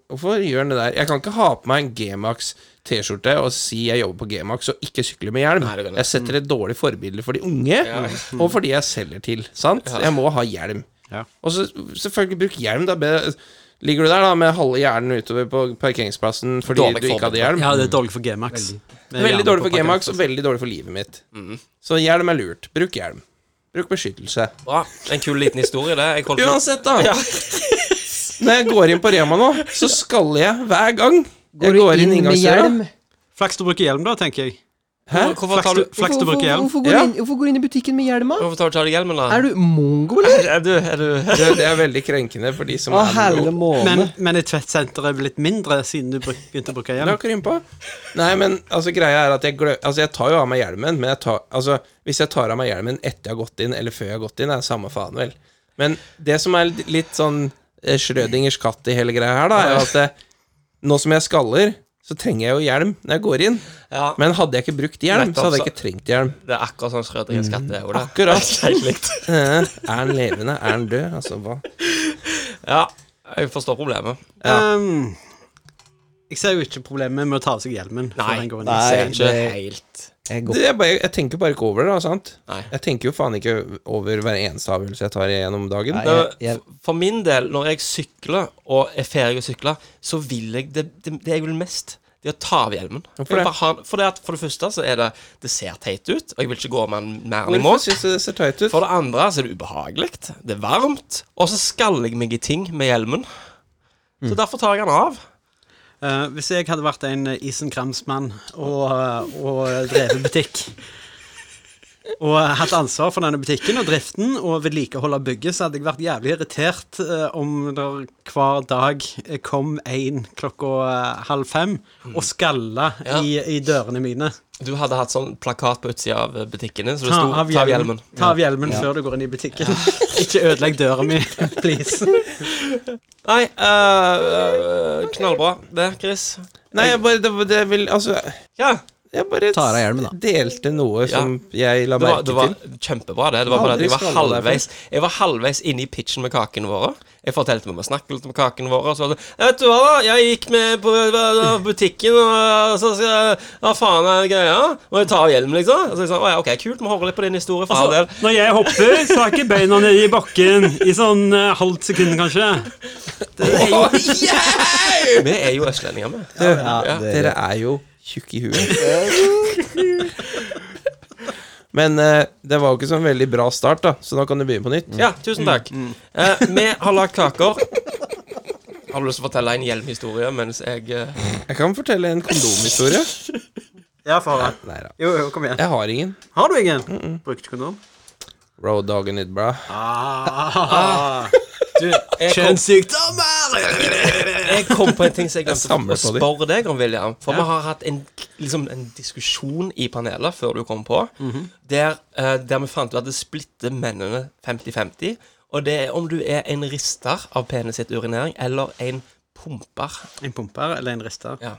hvorfor gjør han det der? Jeg kan ikke ha på meg en G-Max T-skjorte og si jeg jobber på G-Max og ikke sykle med hjelm. Nei, det går ikke. jeg setter et dårlig forbilde for de unge, og for de jeg selger til. Sant? Jeg må ha hjelm. Ja. Og så selvfølgelig bruk hjelm, da. Be- Ligger du der da med halve hjernen utover på parkeringsplassen fordi Dårlig du ikke hadde forbilde. hjelm? Ja, det er dårlig for G-Max. Veldig dårlig for G-Max og veldig dårlig for livet mitt. Mm. Så hjelm er lurt. Bruk hjelm. Bruk beskyttelse. Bra. En kul liten historie, det. Jeg holdt på- Uansett, da. Når jeg går inn på Rema nå, så skaller jeg hver gang. Går jeg du inn med inngangsdøra. hjelm? Flaks du bruker hjelm, da, tenker jeg. Hæ? Hvorfor tar du, Flaks du- Flaks du bruker hjelm. Hvorfor går du Ja. inn, hvorfor går du inn i butikken med hjelm? da? hvorfor tar du ikke av deg hjelmen, da? Er du mongo, eller? Er du, er du Det, det er veldig krenkende for de som Å, er herre måne. Men, men er Tvedt-senteret blitt mindre siden du bruk, begynte å bruke La hjelm? dere innpå. Nei, men altså, greia er at jeg glø... Altså, jeg tar jo av meg hjelmen, men jeg tar, altså, hvis jeg tar av meg hjelmen etter jeg har gått inn, eller før jeg har gått inn, er det samme faen, vel. Men det som er litt- litt sånn eh, Schrødingers katt i hele greia her, da, er jo at eh, nå som jeg skaller, så trenger jeg jo hjelm når jeg går inn. Ja, Men hadde jeg ikke brukt hjelm, Nettopp, så hadde jeg så- ikke trengt hjelm. det er akkurat sånn Schrødingers katt er. Mm, Ola. Akkurat. Helt likt. Eh, Er han levende? Er han død? Altså, hva? Ja, jeg forstår problemet. Um, jeg ser jo ikke problemet med å ta av seg hjelmen. før Nei. en går inn. Nei. Ser ikke det- helt Jeg Det, går. jeg, bare, jeg tenker bare ikke over det, da, sant? Nei. Jeg tenker jo faen ikke over hver eneste avgjørelse jeg tar gjennom dagen. Nei, Nei, jeg, jeg, for- For min del, når jeg sykler og er ferdig å sykle, så vil jeg det, det, det jeg vil mest, det er å ta av hjelmen. Jeg vil det? bare ha den- For det, at, for det første så er det Det ser teit ut, og jeg vil ikke gå med den mer enn jeg må. Hvorfor syns du det ser teit ut? For det andre så er det ubehagelig, det er varmt, og så skaller jeg meg i ting med hjelmen. Så derfor tar jeg den av. Eh, hvis jeg hadde vært en eh, isenkramsmann og, eh, og drevet butikk og hatt ansvar for denne butikken og driften og vedlikehold av bygget, så hadde jeg vært jævlig irritert eh, om det hver dag eh, kom en klokka eh, halv fem og skalla Ja. i, i dørene mine. Du hadde hatt sånn plakat på utsida av butikken din, så det Ta sto av hjelmen, ta av hjelmen Ja. før du går inn i butikken. Ikke ødelegg døra mi, please. Nei, øh, øh, knallbra det, Chris. Nei, jeg bare, det, det vil, altså, Ja, jeg bare Tar av hjelmen, da. delte noe som jeg la det var, merke det var til. kjempebra, det. Det var bare at Aldri jeg var skalla deg for halvveis Jeg var halvveis inne i pitchen med kakene våre. Jeg fortalte meg om å snakke litt om kakene våre. Og så var det «Ja, Vet du hva, da? Jeg gikk med på på butikken, og så skal jeg Hva faen er greia? Må jeg ta av hjelmen, liksom? Og så er jeg sånn, «Å ja, OK, kult. Vi hører litt på din historie. For all del. Når jeg hopper, så er ikke beina nede i bakken i sånn eh, halvt sekund, kanskje. Vi er jo østlendinger, vi. ja, det, Dere er jo tjukke i huet. Men eh, det var jo ikke sånn veldig bra start, da, så da kan du begynne på Mm. nytt. Ja, tusen takk. Eh, vi har lagd kaker. Har du lyst til å fortelle en hjelmhistorie mens jeg eh, Jeg kan fortelle en kondomhistorie. Ja, far. Nei da. Jo, jo, kom igjen. Jeg har ingen. Har du ingen? Brukte kondom? Road dog in it, bra. Ah, Du, jeg kom, Kjønnssykdommer! jeg kom på en ting som jeg glemte samler å på de. spørre deg om, William. For Ja. vi har hatt en, liksom, en diskusjon i panelet før du kom på, der, eh, der vi fant ut at det splitter mennene 50-50. Og det er om du er en rister av penis sitt urinering eller en pumper. En pumper eller en rister. Ja.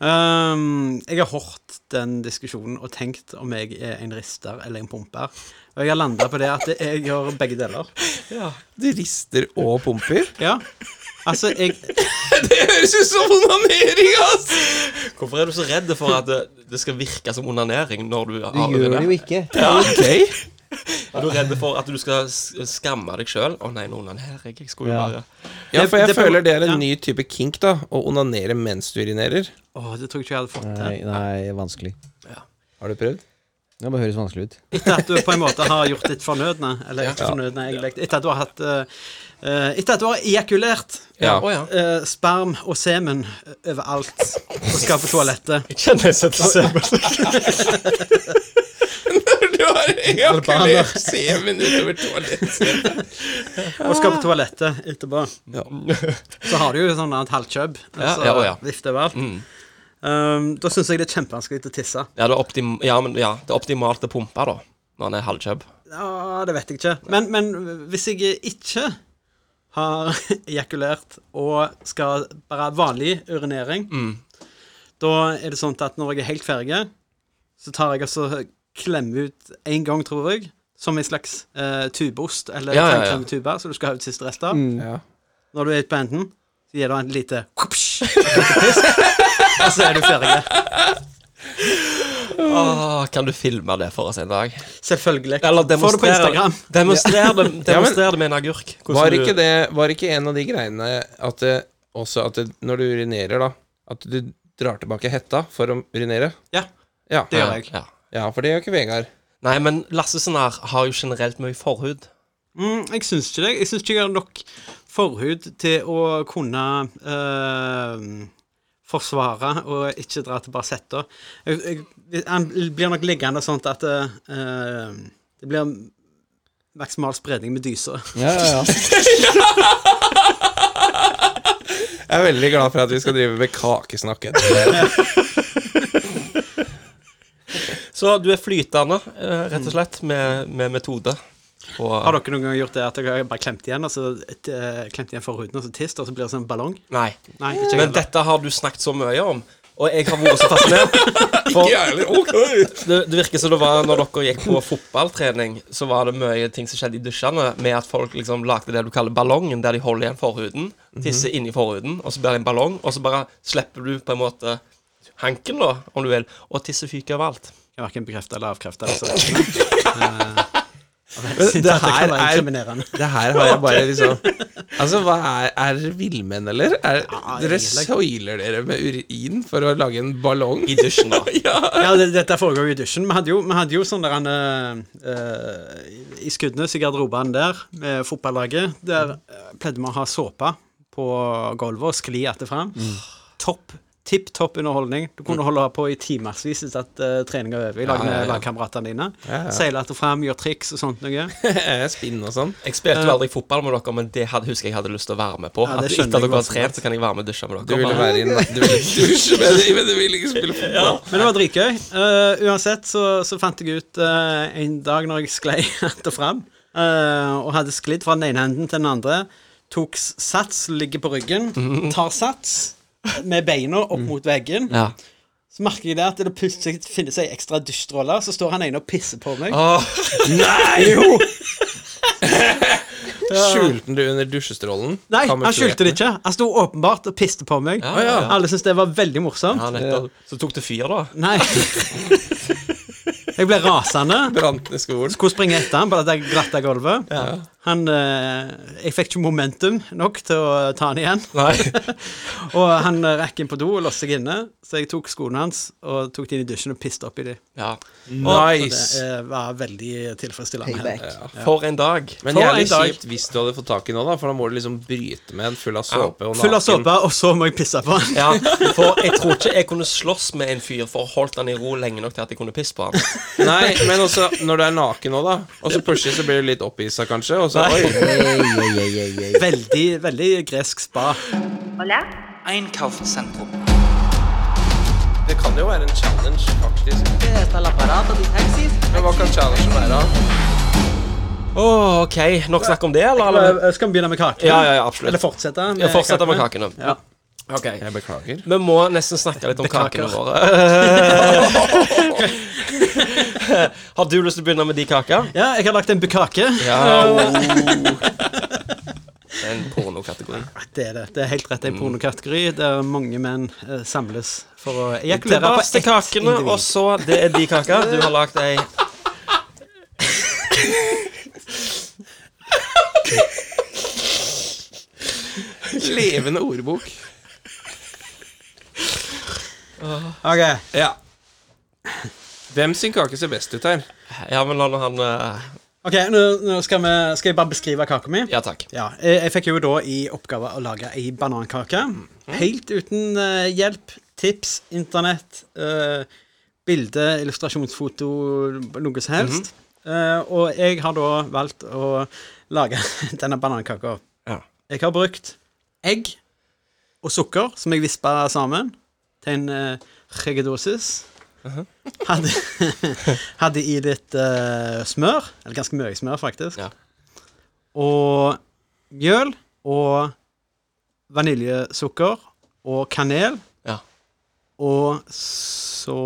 Ehm, jeg har hørt den diskusjonen og tenkt om jeg er en rister eller en pumper. Og jeg har landa på det at jeg gjør begge deler. Du rister og pumper? Ja. Altså, jeg Det høres ut som onanering, ass! Hvorfor er du så redd for at det, det skal virke som onanering når du har Du gjør det jo ikke. Ok. Er du redd for at du skal s- skamme deg sjøl? Å nei, nå onanerer jeg. Jeg skulle jo Ja. bare Ja, for jeg Det- det- føler det er en ja. ny type kink, da. Å onanere mens du urinerer. Å, det tror jeg ikke jeg hadde fått Nei, til. nei, vanskelig. Har du prøvd? Det bare høres vanskelig ut. Etter at du på en måte har gjort ditt fornødne. Eller ikke fornødne, egentlig. Etter at du har hatt eh, eh, Etter at du har ejakulert Ja. Å ja. eh, sperm og semen overalt og skal på toalettet. Jeg kjenner jeg setter semen. Du har ejakulert semen utover toalettet. Og skal på toalettet etterpå. Så har du jo sånn et halvkjøbb. Ja, altså, ja, å ja. Mm. Vifte overalt. Um, da syns jeg det er kjempevanskelig å tisse. Ja, det er, optim ja, men, ja, det er optimalt å pumpe, da. Når han er halvkjøbb. Ja, det vet jeg ikke. Men, men hvis jeg ikke har ejakulert og skal bare vanlig urinering, Mm. da er det sånn at når jeg er helt ferdig, så tar jeg altså klemme ut en gang, tror jeg, som en slags eh, tubeost eller Ja, ja, ja. tannkremtube, så du skal ha ut siste rest av. Ja. Når du er ute på enden, så gir du en lite kupsj, og så er du ferdig. Åh, kan du filme det for oss en dag? Selvfølgelig. Eller Får det på demonstrere Instagram. Demonstrer det, Ja, men- demonstrer det med en agurk. Hvordan Var du- ikke det Var ikke en av de greiene at det, også at det, når du urinerer, da At du drar tilbake hetta for å urinere? Ja, Ja, det gjør jeg. Ja. ja for det gjør ikke Vegard. Nei, men Lassesen her har jo generelt mye forhud. Mm, jeg syns ikke det. Jeg syns ikke jeg har nok forhud til å kunne eh, forsvare og ikke dra til Barsetta. Jeg, jeg, han blir nok liggende sånn at eh, eh, det blir maksimal spredning med dyser. Ja, ja, ja. Jeg er veldig glad for at vi skal drive med kakesnakk etter det. Så du er flytende, eh, rett og slett, med, med metode. Og, Har dere noen gang gjort det at dere har bare klemt igjen, og så eh, klemt igjen forhuden, og så tist, og så blir det sånn ballong? Nei. Nei, ikke Men heller. dette har du snakket så mye om, og jeg har vært så fascinert. For det, det virker som det var når dere gikk på fotballtrening, så var det mye ting som skjedde i dusjene, med at folk liksom lagde det du kaller ballongen, der de holder igjen forhuden, Mhm. tisser inni forhuden, og så blir det en ballong, og så bare slipper du på en måte hanken, da, om du vil, og tisset fyker overalt. Jeg verken bekrefter eller avkrefter. Altså. Eh, Men det at det her kan være er- inkriminerende. Det her har jeg bare liksom Altså, hva er Er dere villmenn, eller? Er, dere egentlig. soiler dere med urin for å lage en ballong? I dusjen, da. Ja, det, dette foregår jo i dusjen. Vi hadde jo, vi hadde jo sånn der han eh, eh, I Skudenes, i garderoben der, med fotballaget, der eh, pleide vi å ha såpe på gulvet og skli etterfram. Topp. Tipp topp underholdning. Du kunne holde på i timevis etter at uh, treninga er over. I lag med lagkameratene dine. Seile etterfram, gjøre triks og sånt noe. Spinn og sånn. Jeg spilte jo aldri fotball med dere, men det hadde, husker jeg hadde lyst til å være med på. Ja, at det etter at skjønner jeg dere har godt. trent, så kan jeg være med og dusje med dere. Du ville være i en Du ville dusje med det, men du ville ikke spille fotball. Men det var dritgøy. Eh, uansett så, så fant jeg ut eh, en dag når jeg sklei att og fram, eh, og hadde sklidd fra den ene henden til den andre, tok s- sats, ligger på ryggen, tar sats med beina opp mot veggen. Mm. Ja. Så merker jeg det at det plutselig finnes ei ekstra dusjstråle, så står han ene og pisser på meg. Åh, Nei, jo! Skjulte du under dusjestrålen? Nei, han skjulte det ikke. Han sto åpenbart og piste på meg. Ja, ja, ja. Alle syntes det var veldig morsomt. ja, nettopp. Så tok det fyr, da. Nei. jeg ble rasende. Brant ned skoen. Skulle springe etter han på dette glatte gulvet. Han, eh, jeg fikk ikke momentum nok til å ta han igjen. Nei. Og han eh, rakk inn på do og låste seg inne, så jeg tok skoene hans og tok de inn i dusjen og piste oppi de. Ja. Det Nice. eh, var veldig tilfredsstillende. Payback. For en dag. Men For jævlig en dag. kjipt hvis du hadde fått tak i noe, da, for da må du liksom bryte med en full av såpe og Full av såpe, og så må jeg pisse på han. Ja, for jeg tror ikke jeg kunne slåss med en fyr for å holdt han i ro lenge nok til at jeg kunne pisse på han. Nei, men også når du er naken òg, da. Og så plutselig så blir du litt opphissa, kanskje. Og så oi. Ei, ei, ei, ei, ei. Veldig, veldig gresk spa. Einkaufszentrum. Det kan jo være en challenge, faktisk. Men hva kan challengen være? Åh, OK. Nok snakk om det, eller? eller? Eller, Eh, skal vi begynne med kakene? Ja, ja, ja, absolutt. Eller fortsette? med Jeg fortsetter med kakene. Ja. Ok. Jeg beklager. Vi må nesten snakke litt om Beklager. kakene våre. Har du lyst til å begynne med de kaker? Ja, jeg har lagt en bukake. Ja. Det er en pornokategori. Det er det. Det er helt rett. Det er en pornokategori der mange menn eh, samles for å ejakulere Tilbake på til ett kakene, individ. og så Det er de kaker. Du har lagd ei Levende ordbok. Ok, Ja. Hvem sin kake ser best ut her? Ja, men la nå han eh, Ok, nå, nå skal, vi, skal jeg bare beskrive kaka mi. Ja takk. Ja, jeg, jeg fikk jo da i oppgave å lage ei banankake. Mhm. Helt uten eh, hjelp, tips, internett, eh, bilde, illustrasjonsfoto, noe som helst. Mhm. Eh, og jeg har da valgt å lage denne banankaka. Ja. Jeg har brukt egg og sukker, som jeg vispa sammen, til en uh, regedosis. Mhm. Hadde, hadde i litt eh, smør, eller ganske mye smør, faktisk Ja. og mjøl og vaniljesukker og kanel. Ja. Og så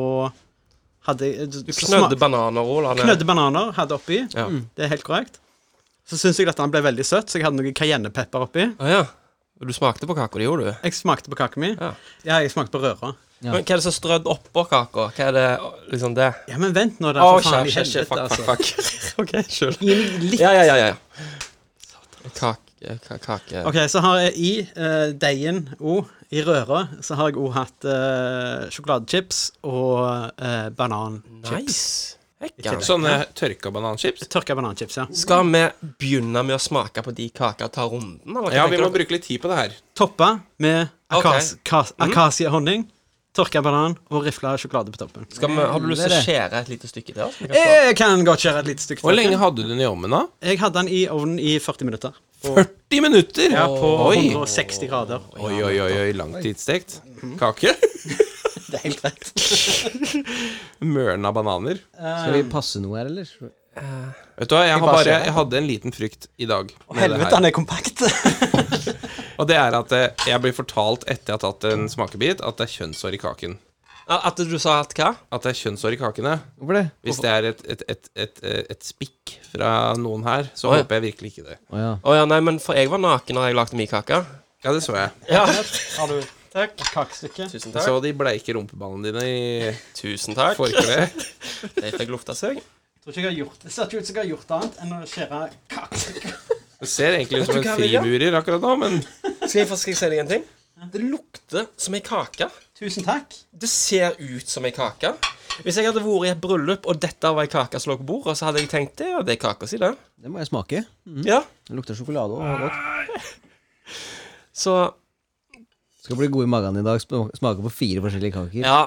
hadde jeg Du knødde bananrollene. knødde bananer hadde oppi. Ja. Mm, det er helt korrekt. Så syns jeg at den ble veldig søt, så jeg hadde noe cayennepepper oppi. Å ja. Du smakte på kaka, det gjorde du. Jeg smakte på kaka mi. Ja. Ja, jeg smakte på røra. Ja. Men hva er det som er strødd oppå kaka? Hva er det liksom det? Ja, men vent nå, da. Å, For faen, kjære, i kjære, kjære, helvete, fuck, altså. fuck, fuck. OK, skyld. Gi meg litt altså. Ja, ja, ja. ja, ja. Kake, eh, ka- kake Ok, så har jeg i eh, deigen og i røra så har jeg òg hatt eh, sjokoladechips og eh, bananchips. Nice. Ikke Hekken. det. Sånne tørka bananchips? Tørka bananchips, ja. Skal vi begynne med å smake på de kakene og ta runden? Eller? hva Ja, vi tenker må dere? bruke litt tid på det her. Toppa med Ok. akas, kas, akasiehonning, tørka banan og rifla sjokolade på toppen. Skal vi, har du lyst til å Det er skjære et lite stykke til? oss? Vi kan få- Jeg kan godt kjøre et lite stykke Hvor til. lenge hadde du den i ovnen, da? Jeg hadde den i ovnen i 40 minutter. 40 minutter! Ja, på oi. 160 grader. oi, oi, oi, oi, langtidsstekt. Mm. Kake? Det er helt rett. Mørna bananer. Skal vi passe noe her, eller? Vet du hva, jeg, har bare bare, ser. jeg hadde en liten frykt i dag. med det Helvete, her. den er kompakt. Og det er at eh, jeg blir fortalt etter jeg har tatt en smakebit, at det er kjønnshår i kaken. At du sa at hva? At det er kjønnshår i kakene. Hvorfor det? Hvis det er et, et, et, et, eh, et, et spikk fra noen her, så Oi. håper jeg virkelig ikke det. Å ja. Å ja, nei, men for jeg var naken da jeg lagde min kake. Ja, det så jeg. Ja. Har du et kakestykke? Tusen Jeg så de bleike rumpeballene dine i Tusen takk. forkleet. De fikk lufta seg. Tror ikke jeg har gjort det. Ser ikke ut som jeg har gjort annet enn å skjære kakestykker. Det ser egentlig ut som Vet en du hva, Vilja? frimurer akkurat nå, men Skal jeg, få- skal jeg si deg en ting? Det lukter som ei kake. Tusen takk. Det ser ut som ei kake. Hvis jeg hadde vært i et bryllup, og dette var ei kake som lå på bordet, så hadde jeg tenkt det, ja, det er kaka si, det. Det må jeg smake. Ja. Det lukter sjokolade og godt. Så Skal bli god i magen i dag. sm- Smake på fire forskjellige kaker. Ja.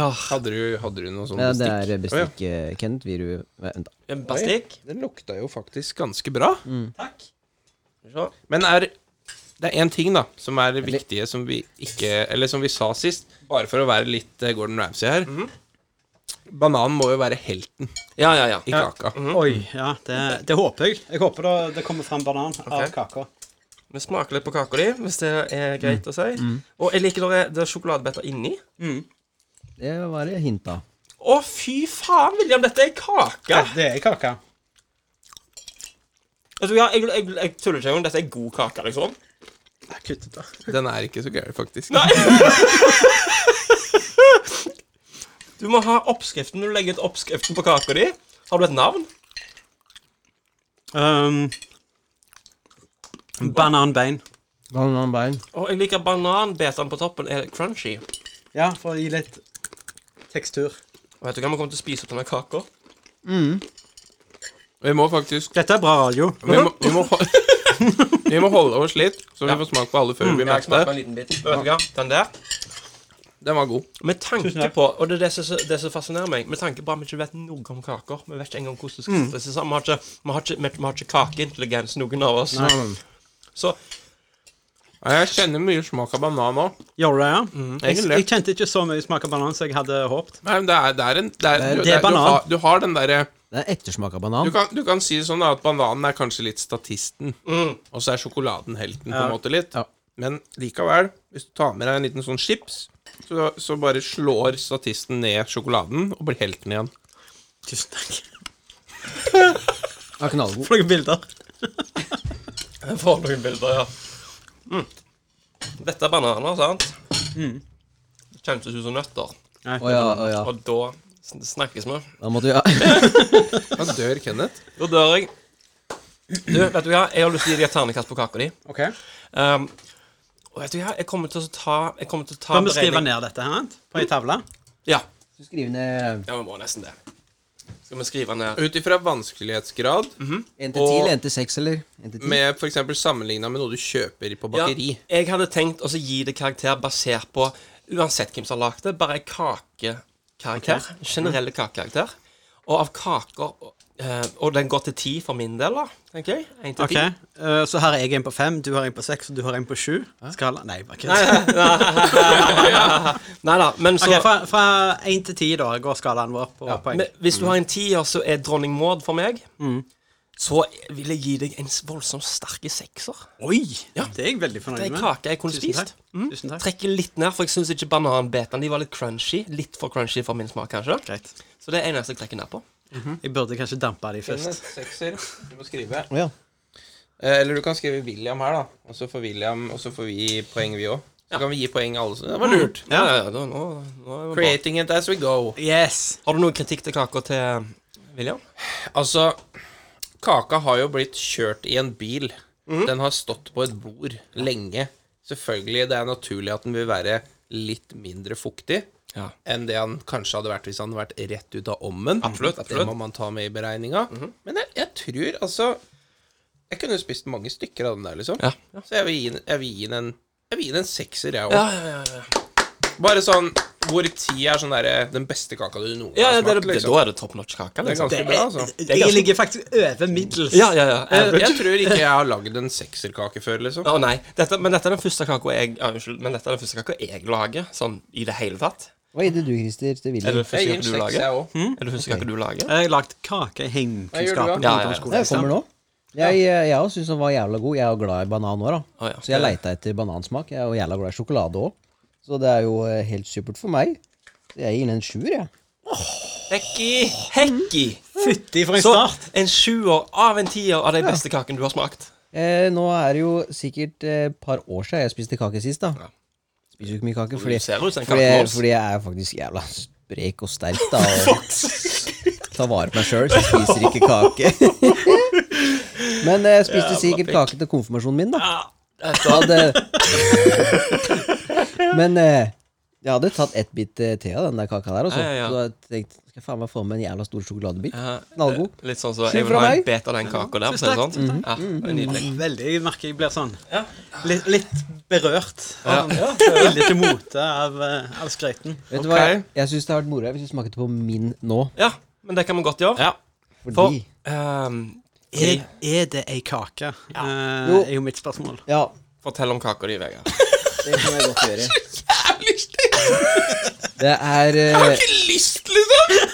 ja. hadde du, hadde du noe sånt Ja, det bestikk? er bestikk, eh, Kenneth. Vil du Vent, da. En bastikk. Den lukta jo faktisk ganske bra. Takk. Skal vi se. Men er, det er én ting da som er viktige, som vi ikke Eller som vi sa sist, bare for å være litt eh, Gordon Ramsay her. Bananen må jo være helten Mhm. Ja, ja, ja. i kaka. Oi, ja, det, det håper jeg. Jeg håper det, det kommer fram banan av kaka. Vi smaker litt på kaka di, hvis det er greit å si. Og jeg liker når det er- det er sjokoladebiter inni. Det var det hinta. Å, fy faen, William, dette er kake! Det er kaka. Vet du hva, jeg, jeg, jeg tuller ikke engang. Dette er god kake, liksom. Kutt ut, da. Den er ikke så gæren, faktisk. Du må ha oppskriften når du legger ut oppskriften på kaka di. Har du et navn? Um, bananbein. Bananbein. Og jeg liker bananbetene på toppen. Er crunchy. Ja, for å gi litt tekstur. Vet du hva vi kommer til å spise opp denne kaka? Vi må faktisk Dette er bra radio. Vi må, vi må, hol- vi må holde oss litt, så vi får smak på alle før vi blir Mm, Jeg smaker mette. en liten bit. Vet du hva, den der. Den var god. Med tanke på, og det er det som, det som fascinerer meg, med tanke på at vi ikke vet noe om kaker Vi vet ikke engang hvordan det skal settes sammen. Vi har ikke, vi har ikke, vi- vi har ikke kakeintelligens, noen av oss. Så Ja, Jeg kjenner mye smak av banan nå. Gjorde det, ja? Mm, jeg, egentlig. jeg kjente ikke så mye smak av banan som jeg hadde håpet. Nei, men det er, det er en det er, Det er du, du banan. har, du har den derre Det er ettersmak av Du banan. kan, du kan si det sånn da, at bananen er kanskje litt statisten, og så er sjokoladen helten på en måte litt. Ja. Men likevel, hvis du tar med deg en liten sånn chips, så, så bare slår statisten ned sjokoladen og blir helten igjen. Tusen takk Ja, knallgod. for noen bilder. Jeg får noen bilder, ja. Mm. Dette er bananer, sant? Det Kjentes ut som nøtter. Å ja, å ja. Og da sn- snakkes vi. Da måtte vi ja. Da dør Kenneth. Da dør jeg. Du, vet du hva? Jeg har lyst til å gi deg et ternekast på kaka di. Ok Um, og vet du hva? Jeg kommer til å ta Jeg kommer til å ta Kan vi skrive beregning- ned dette her sant? på ei tavle? Mm. Ja. Skriv ned ja, vi må nesten det. Skal vi skrive ned Ut ifra vanskelighetsgrad, 1 til 10 eller 1 til 6, eller? 1 til 10. med f.eks. sammenligna med noe du kjøper på bakeri. Ja, jeg hadde tenkt å så gi det karakter basert på Uansett hvem som har lagd det, bare en kakekarakter. Mm. Generelle kakekarakter. Og av kaker eh, Og den går til ti for min del, da. tenker jeg. En til Ok, ti. eh, Så her er jeg en på fem, du har en på seks, og du har en på sju. Skala Nei, bare kødd. Nei da, men så Ok, fra- Fra én til ti, da, går skalaen vår på poeng. Mm. men Hvis du har en tier, så er dronning Maud for meg. Så vil jeg gi deg en voldsomt sterk sekser. Oi! Det er jeg veldig Det fornøyd er med. en kake jeg kunne Tusen takk. spist. Mm. Tusen takk. Trekker litt ned, for jeg syns ikke bananbetene de var litt crunchy. Litt for crunchy for min smak, kanskje. Greit. Så det er eneste jeg trekker ned på. Jeg burde kanskje dampe de først. Kenneth, sekser. Du må skrive. Å ja. Eh, Eller du kan skrive William her, da. Og så får William, og så får vi poeng, vi òg. Så kan vi gi poeng alle sammen. Det var lurt. Ja, ja, ja, da, nå, nå er det bra. Creating it as we go. Yes! Har du noen kritikk til kaka til William? Altså, kaka har jo blitt kjørt i en bil. Mhm. Den har stått på et bord lenge. Selvfølgelig, det er naturlig at den vil være litt mindre fuktig Ja. enn det han kanskje hadde vært hvis han hadde vært rett ut av ommen. Absolutt, Det absolutt. Mhm. må man ta med i beregninga. Men jeg, jeg tror, altså Jeg kunne spist mange stykker av den der, liksom. Ja. Så jeg vil gi den- jeg vil gi den en jeg vil gi den en sekser, jeg òg. Ja, ja, ja, ja. Bare sånn hvor ti er sånn derre den beste kaka du noen gang ja, har ja det, smakt. det, liksom. Da er det top notch-kake. Det er Liksom. ganske bra, altså. er Jeg ganske- ligger faktisk over middels. Ja, ja, ja. Eh, Jeg, average. jeg tror ikke jeg har lagd en sekserkake før, liksom. Å nei, dette, men dette er den første kaka jeg ja, Unnskyld, men dette er den første kaka jeg lager, sånn i det hele tatt. Hva gir det du, Christer, til Er det William? den Jeg første gir en kaka du seks, lager? Hm? jeg Eh, òg. Er det første kaka du lager? Jeg har lagd kake i Hva gjør heimkunnskapen. du da? på Ja, ja, ungdomsskolen, ja. Det kommer liksom. nå. Jeg, eh, jeg også syns den var jævla god. Jeg er jo glad i banan òg, da. Å, ja. Så jeg leita etter banansmak. Jeg er jo jævla glad i sjokolade òg. Så det er jo eh, helt supert for meg. Så jeg gir den en sjuer, jeg. Hekki! Hekki! Fytti for en Så start! en sjuer av en tier av de beste kakene du har smakt. Eh, nå er det jo sikkert eh, et par år siden jeg spiste kake sist, da. Spiser jo ikke mye kake, fordi, Du ser ut som en fordi, kakemos. fordi jeg er faktisk jævla sprek og sterk, da. Og tar vare på meg sjøl, så jeg spiser ikke kake. Men eh, jeg spiste sikkert kake til konfirmasjonen min, da. Så hadde Men eh, jeg hadde tatt ett bit eh, te av den der kaka der, altså. Ja, ja, ja. Så jeg tenkte skal jeg faen meg få med en jævla stor sjokoladebit. Ja, Knallgod. eh, Litt sånn så Sju Jeg vil fra ha en meg. bet av den kaka der, for å si det Tusen sånn. Ja, det er Mm. nydelig. Veldig, jeg merker jeg blir sånn litt, litt berørt. av- Veldig til mote av, eh, av skrøyten. Vet Ok. du hva, jeg, jeg syns det har vært moro hvis du smakte på min nå, Ja, men det kan vi godt gjøre. Ja. fordi For ehm, Er, er det ei kake? Eh, Jo. er jo mitt spørsmål. Ja, Fortell om kaka di, Vegard. det kan jeg godt gjøre. Det er eh, Lyst, liksom!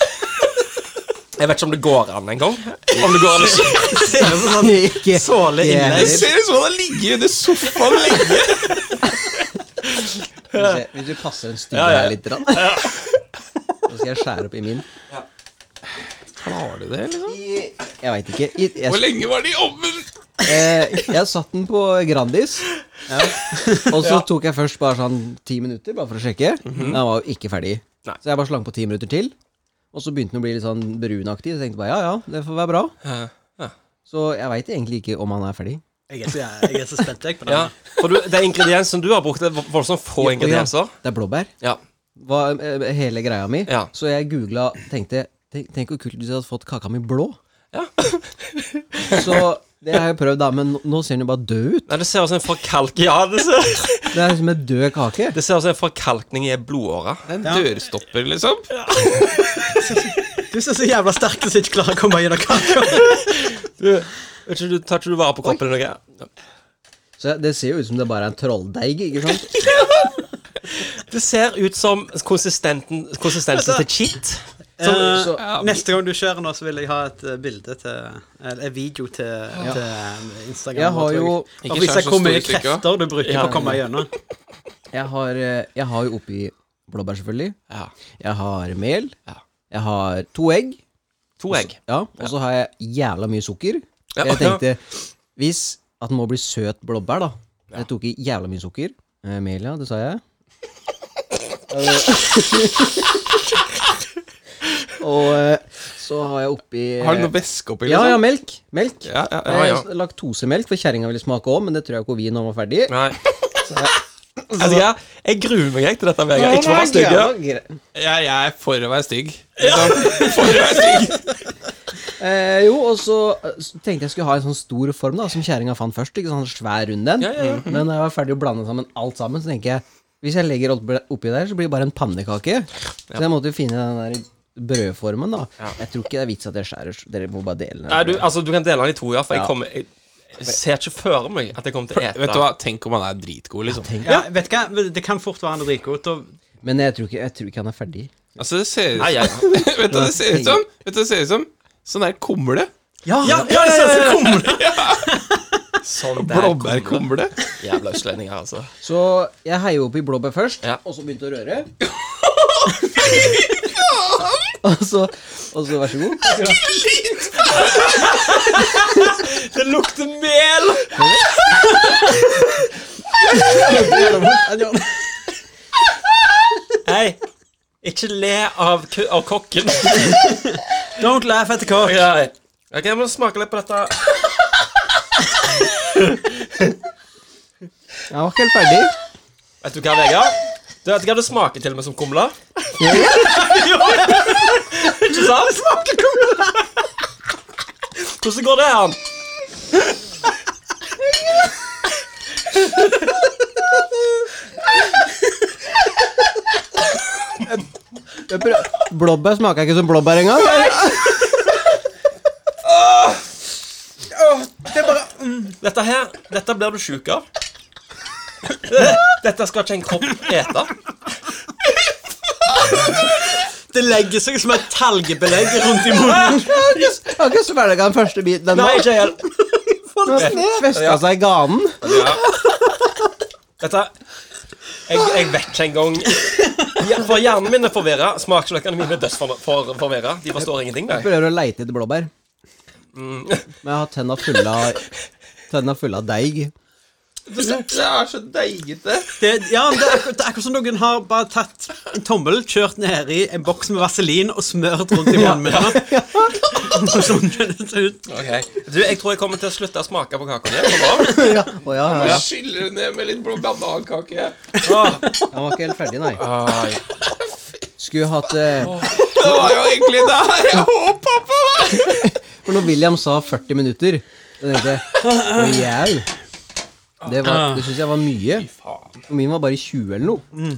Jeg vet ikke om det går an engang. Om det går an eller ikke. ikke Såle det er- innlegg. Jeg ser ut som han har ligget under sofaen lenge. Skal vi se, Hvis du passer den stygge her litt, grann. så skal jeg skjære opp i min. Klarer du det, liksom? I- Jeg veit ikke. I- Hvor Jeg, lenge var det i ovnen? eh, jeg satt den på Grandis, og så tok jeg først bare sånn ti minutter bare for å sjekke. Men Den var jo ikke ferdig. Nei. Så jeg bare slang på ti minutter til. Og så begynte den å bli litt sånn brunaktig. Så jeg tenkte bare ja, ja, det får være bra. Så jeg veit egentlig ikke om han er ferdig. Jeg er så, jeg er så spent, jeg, på den. Ja, for du, Det er ingredienser du har brukt. Det er voldsomt få ingredienser. Det er blåbær. Ja. Var eh, hele greia mi. Ja. Så jeg googla tenkte Tenk, tenk hvor kult hvis jeg hadde fått kaka mi blå. Ja. så det har jeg prøvd, da, men nå- nå ser den jo bare død ut. Nei, det ser ut som en forkalk... Ja, det ser, Det er som en død kake. det ser ut som en forkalkning i blodåra. Det er en dørstopper, liksom. Du ser så jævla sterk ut som ikke klarer å komme gjennom kaka. Vet ikke, du- Tar ikke du vare på kroppen din? noe? Så det ser jo ut som det bare er en trolldeig, ikke sant? Det ser ut som konsistenten- konsistensen til chit. Så, Eh, så, ja. neste gang du skjer nå, så vil jeg ha et eh, bilde til Eller en video til, til Instagram. Jeg har jo Jeg Ikke får skjær se så hvor mye store stykker. krefter du bruker på å komme gjennom. Jeg har, eh, jeg har jo oppi blåbær, selvfølgelig. Ja. Jeg har mel. Ja. Jeg har to egg. To egg. Ja, Og så har jeg jævla mye sukker. Ja. Jeg tenkte hvis at den må bli søt blåbær, da Jeg tok i jævla mye sukker. Eh, mel, ja, det sa jeg. Eh, og eh, så har jeg oppi eh, Har du noe væske oppi? Ja, ja, liksom? melk. Melk. Ja, ja, ja, Eh, ja. Laktosemelk, for kjerringa ville smake òg, men det tror jeg ikke hun vil når hun var ferdig. Nei. Altså, jeg, jeg gruer meg jeg til dette, Vegard. Ikke for å være stygg. ja. Ja, gre- Jeg, jeg er for å være stygg. liksom. For å være stygg. Eh, jo, og så eh, s- tenkte jeg skulle ha en sånn stor form, da som kjerringa fant først. Ikke sånn svær rund en. Mm. Ja, ja, ja. Men når jeg var ferdig å blande sammen alt sammen, så tenker jeg hvis jeg legger alt oppi der, så blir det bare en pannekake. Så jeg måtte jo finne den der brødformen, da. Jeg tror ikke det er vits at jeg skjærer. s- Dere må bare dele den. Nei, du, altså, du kan dele den i to, ja, for jeg, Ja. kommer, jeg, jeg ser ikke for meg at jeg kommer til å ete. Vet du hva, tenk om han er dritgod, liksom. Ja, vet du hva? Det kan fort være han er dritgod. og- Men jeg tror, ikke, jeg tror ikke han er ferdig. Altså, det ser ut Nei, jeg, Vet du hva det ser ut som? Vet du hva det ser ut som? Sånn der kumle. Ja, ja, ja, sånn der kommer Blåbærkumle. det. Jævla østlendinger, altså. Så jeg heier oppi blåbær først, Ja. og så begynte å røre. og, så, og så vær så god. Det lukter mel! Hei, ikke le av, ku- av kokken. Don't laugh at the cock. Ja, ja. Ok, jeg må smake litt på dette. Jeg var ikke helt ferdig. Vet du hva, Vegard? Du vet hva det smaker til og med som kumle? Ikke sant? Det smaker kumle. Hvordan går det an? Jeg prøv- Blåbær smaker ikke som blåbær engang. Dette her, dette blir du sjuk av. Dette skal ikke en kropp ete. Det legger seg som et talgebelegg rundt i munnen. Jeg har ikke svelga den første biten ennå. Nei, ikke helt. Den har festa seg i ganen. Dette jeg, jeg vet ikke engang. Ja, For hjernen min er forvirra. Smaksløkene mine er dødsforvirra. For, forvirret. de forstår ingenting. Nei. Mm. Prøver å leite etter blåbær. Men jeg har tenna fulle av Tenna fulle av deig. Det er så deigete. Det, ja, men det, er, akkur- det er akkurat som noen har bare tatt en tommel, kjørt nedi en boks med vaselin og smørt rundt i munnen. Sånn kjennes det ut. Du, Jeg tror jeg kommer til å slutte å smake på kaka di. Kom Ja, å ja, ja, ja. Skyller det ned med litt blå banankake. av. Han var ikke helt ferdig, nei. Åh, ai. Skulle hatt eh, Det var jo egentlig det her jeg håpa på! For når William sa 40 minutter, så tenkte jeg Jau. Det, Ah. var- det syns jeg var mye. Og min var bare 20 eller noe. Mm.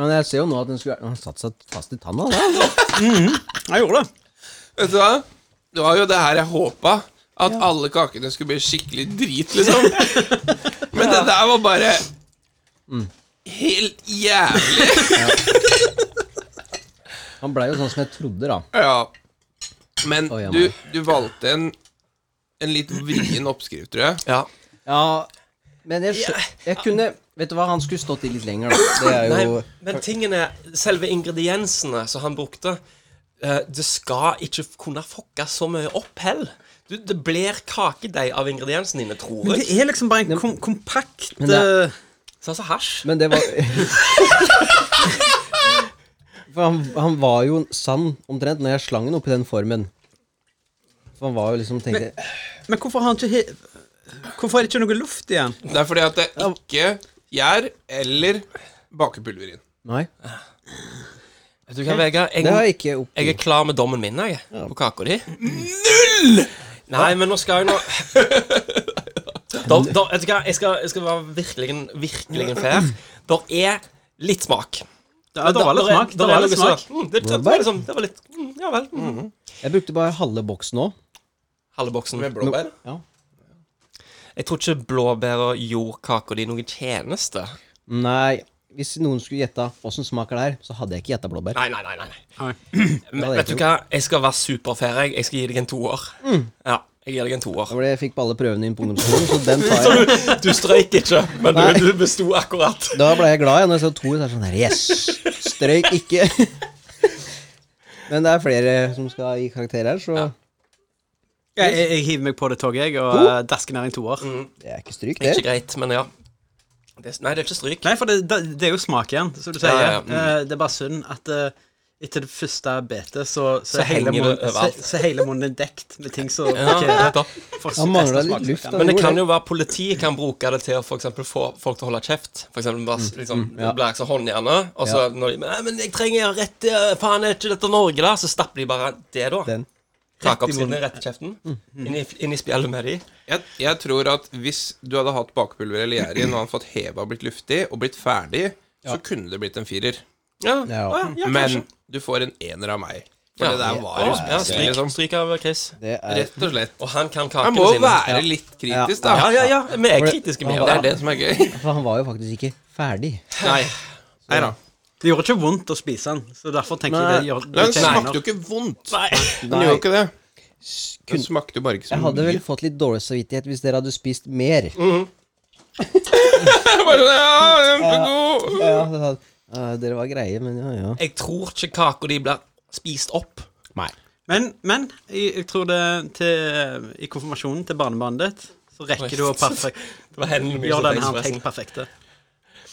Men jeg ser jo nå at den skulle Han satt seg fast i tanna. da. Jeg gjorde det. Vet du hva? Det var jo det her jeg håpa. At alle kakene skulle bli skikkelig drit, liksom. Men det der var bare Mm. Helt jævlig. Han blei jo sånn som jeg trodde, da. Ja. Men Å, ja, du, meg. du valgte en, en litt vrien oppskrift, tror jeg. Ja. Ja, men jeg, skjø- jeg kunne Vet du hva, han skulle stått i litt lenger, da. Det er Nei, jo men tingene, selve ingrediensene som han brukte eh, Det skal ikke kunne fucke så mye opp heller. Du, det blir kakedeig av ingrediensene dine, tror Men jeg. det er liksom bare en kom kompakt Men det er- eh, Sånn som hasj. Men det var For han, han var jo sann omtrent når jeg slang den oppi den formen. For han var jo liksom tenkte Men hvorfor har han ikke he Hvorfor er det ikke noe luft igjen? Det er fordi at det er ikke gjær eller bakepulver inn. Nei, Vet du hva, Vegard? det har Jeg, jeg ikke opp... jeg er klar med dommen min, jeg. På kaka di. Null! Nei, men nå skal jeg nå da, da, vet du hva, jeg skal, jeg skal være virkelig, virkelig fair. Der er litt smak. Ja, det var litt Der er- smak. der Det var er litt noe smak. som- Mm, det, det, det, var liksom, det var litt mm, Ja vel. Mm. Jeg brukte bare halve boksen òg. Halve boksen. Med Blåbær? Ja. Jeg tror ikke blåbæra gjorde kaka di noen tjeneste. Nei, hvis noen skulle gjette åssen smaker det her, så hadde jeg ikke gjetta blåbær. Nei, nei, nei. nei. Det Men, hadde vet jeg du ikke gjort. hva? Jeg skal være superfair. jeg. Jeg skal gi deg en toer. Ja, jeg gir deg en toer. Det var det jeg fikk på alle prøvene inn på ungdomsskolen, så den tar jeg. Du strøyk ikke, men Nei. du, du besto akkurat. Da ble jeg glad ja, når jeg så to, så er det sånn her Yes! Strøyk ikke. Men det er flere som skal gi karakter her, så Jeg, jeg, jeg hiver meg på det toget, jeg, og uh, dasker ned en toer. det er ikke stryk, Ikke det. greit, men ja. Det, nei, det er ikke stryk. Nei, for det, det, det er jo smak igjen, som du sier. Ja, ja, ja. Mm. Eh, det er bare synd at eh, etter det første betet, så, så, er henger hele det munnen, så, overalt. så er hele munnen er dekt med ting som Ja, blokkerer nettopp. for Han resten av mangla litt smaken. luft. da. men det Gjorde kan jo være politiet kan bruke det til å for eksempel få folk til å holde kjeft. For eksempel bare s- liksom, ja. blir jeg så håndjerne, og så når de Nei, men jeg trenger rett til Faen, er ikke dette Norge, da? Så stapper de bare det, da. Den. Takeoppskriften rett i kjeften. Inn i, inn i spjeldet med de. Jeg, jeg tror at hvis du hadde hatt bakepulver eller gjær i, og han fått heva og blitt luftig, og blitt ferdig, så kunne det blitt en firer. Ja. Ja. Å, ja, Men du får en ener av meg. For Ja. det der var jo Ja, ja, spesielt, stryk, liksom. stryk av Chris. Det er Rett og slett. Og han kan Han kakene må jo sine. være litt kritisk, da. Ja, ja, ja. Vi er kritiske med Det det. er det som er gøy. For han var jo faktisk ikke ferdig. Nei. Nei da. Det gjorde ikke vondt å spise den, så derfor tenker jeg det gjør det Den tjener. smakte jo ikke vondt. Den Nei. gjorde jo ikke det. Kun- Den smakte jo bare ikke så Jeg mye. Mm. hadde vel fått litt dårlig samvittighet hvis dere hadde spist mer. Jeg bare, sånn, ja, kjempegod. Ja, det hadde, Ja, dere var greie, men ja, ja. Jeg tror ikke kaka di blir spist opp. Men, men jeg, jeg tror det til, i konfirmasjonen til barnebarnet ditt, så rekker du å perfek Det var hendene mine gjøre som den tenkte her forresten. helt perfekte.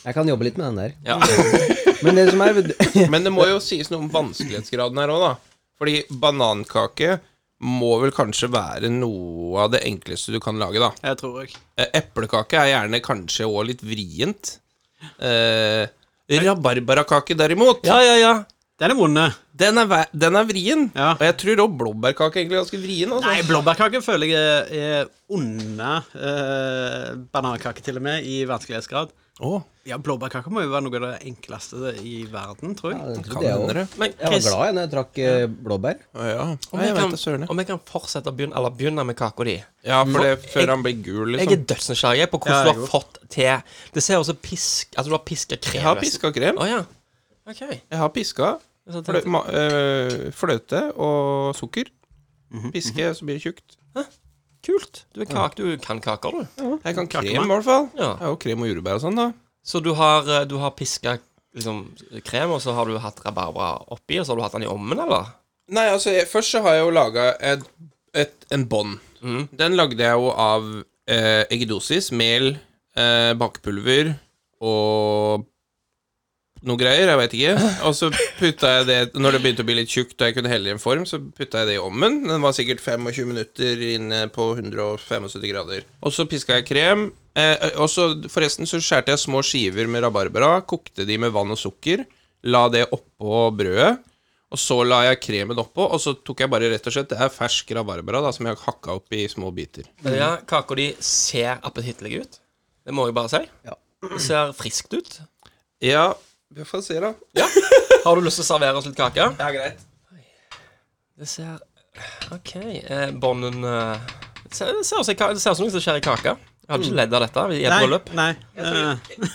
Jeg kan jobbe litt med den der. Ja. Men det som er vet du- Men det må jo sies noe om vanskelighetsgraden her òg, da. Fordi banankake må vel kanskje være noe av det enkleste du kan lage, da. Jeg tror jeg. Eh, Eplekake er gjerne kanskje òg litt vrient. Eh, Rabarbarakake, derimot, ja, ja, ja. Den er vond. den er, væ- den er vrien. Ja. Og jeg tror òg blåbærkake er egentlig er ganske vrien. Altså. Nei, blåbærkake føler jeg er under eh, banankake, til og med, i vanskelighetsgrad. Åh, Ja, blåbærkake må jo være noe av det enkleste i verden, tror Ja, jeg. det kan trodde jeg hende òg. det. Men Jeg var Chris, glad jeg når jeg trakk eh, blåbær. Å, Ja, om Nei, jeg, jeg vet det, kan, søren. ja. om jeg kan fortsette å begynne, eller begynne med kaka di Ja, for det Jeg- før han blir gul, Jeg er liksom. dødsnysgjerrig på Ja, hvordan jeg du har går. fått til Det ser ut som pisk Altså, du har piska krem. Jeg har nesten. piska krem. Å ja. OK. Jeg har piska. Så tenkte Flø jeg- ma øh, fløte og sukker. Mhm, Piske, så blir det tjukt. Kult. Du, er kak, du kan kaker, du. Jeg kan krem, Kakemann. i hvert fall. Ja. Jeg har jo krem og jordbær og sånn, da. Så du har, eh, du har piska liksom, krem, og så har du hatt rabarbra oppi, og så har du hatt den i ovnen, eller? Nei, altså, jeg, først så har jeg jo laga et, et, en bånd. Den lagde jeg jo av eh, eggedosis, mel, eh, bakepulver og noe greier, jeg veit ikke. Og så putta jeg det Når det begynte å bli litt tjukt og jeg kunne helle i en form, så putta jeg det i ovnen. Den var sikkert 25 minutter inne på 175 grader. Og så piska jeg krem. Eh, og så forresten så skjærte jeg små skiver med rabarbra, kokte de med vann og sukker, la det oppå brødet. Og så la jeg kremen oppå, og så tok jeg bare rett og slett Det er fersk rabarbra da, som jeg har hakka opp i små biter. Men ja, kaka di ser appetittlig ut. Det må jeg bare si. Ja. Det ser friskt ut. Ja, vi får se, da. Har du lyst til å servere oss litt kake? Ja, greit. Det ser OK. Eh, Bånden eh, det ser- Det ser ut som ka- det ser ut som det skjer i kake. Jeg hadde ikke ledd av dette i et bryllup. Nei. nei.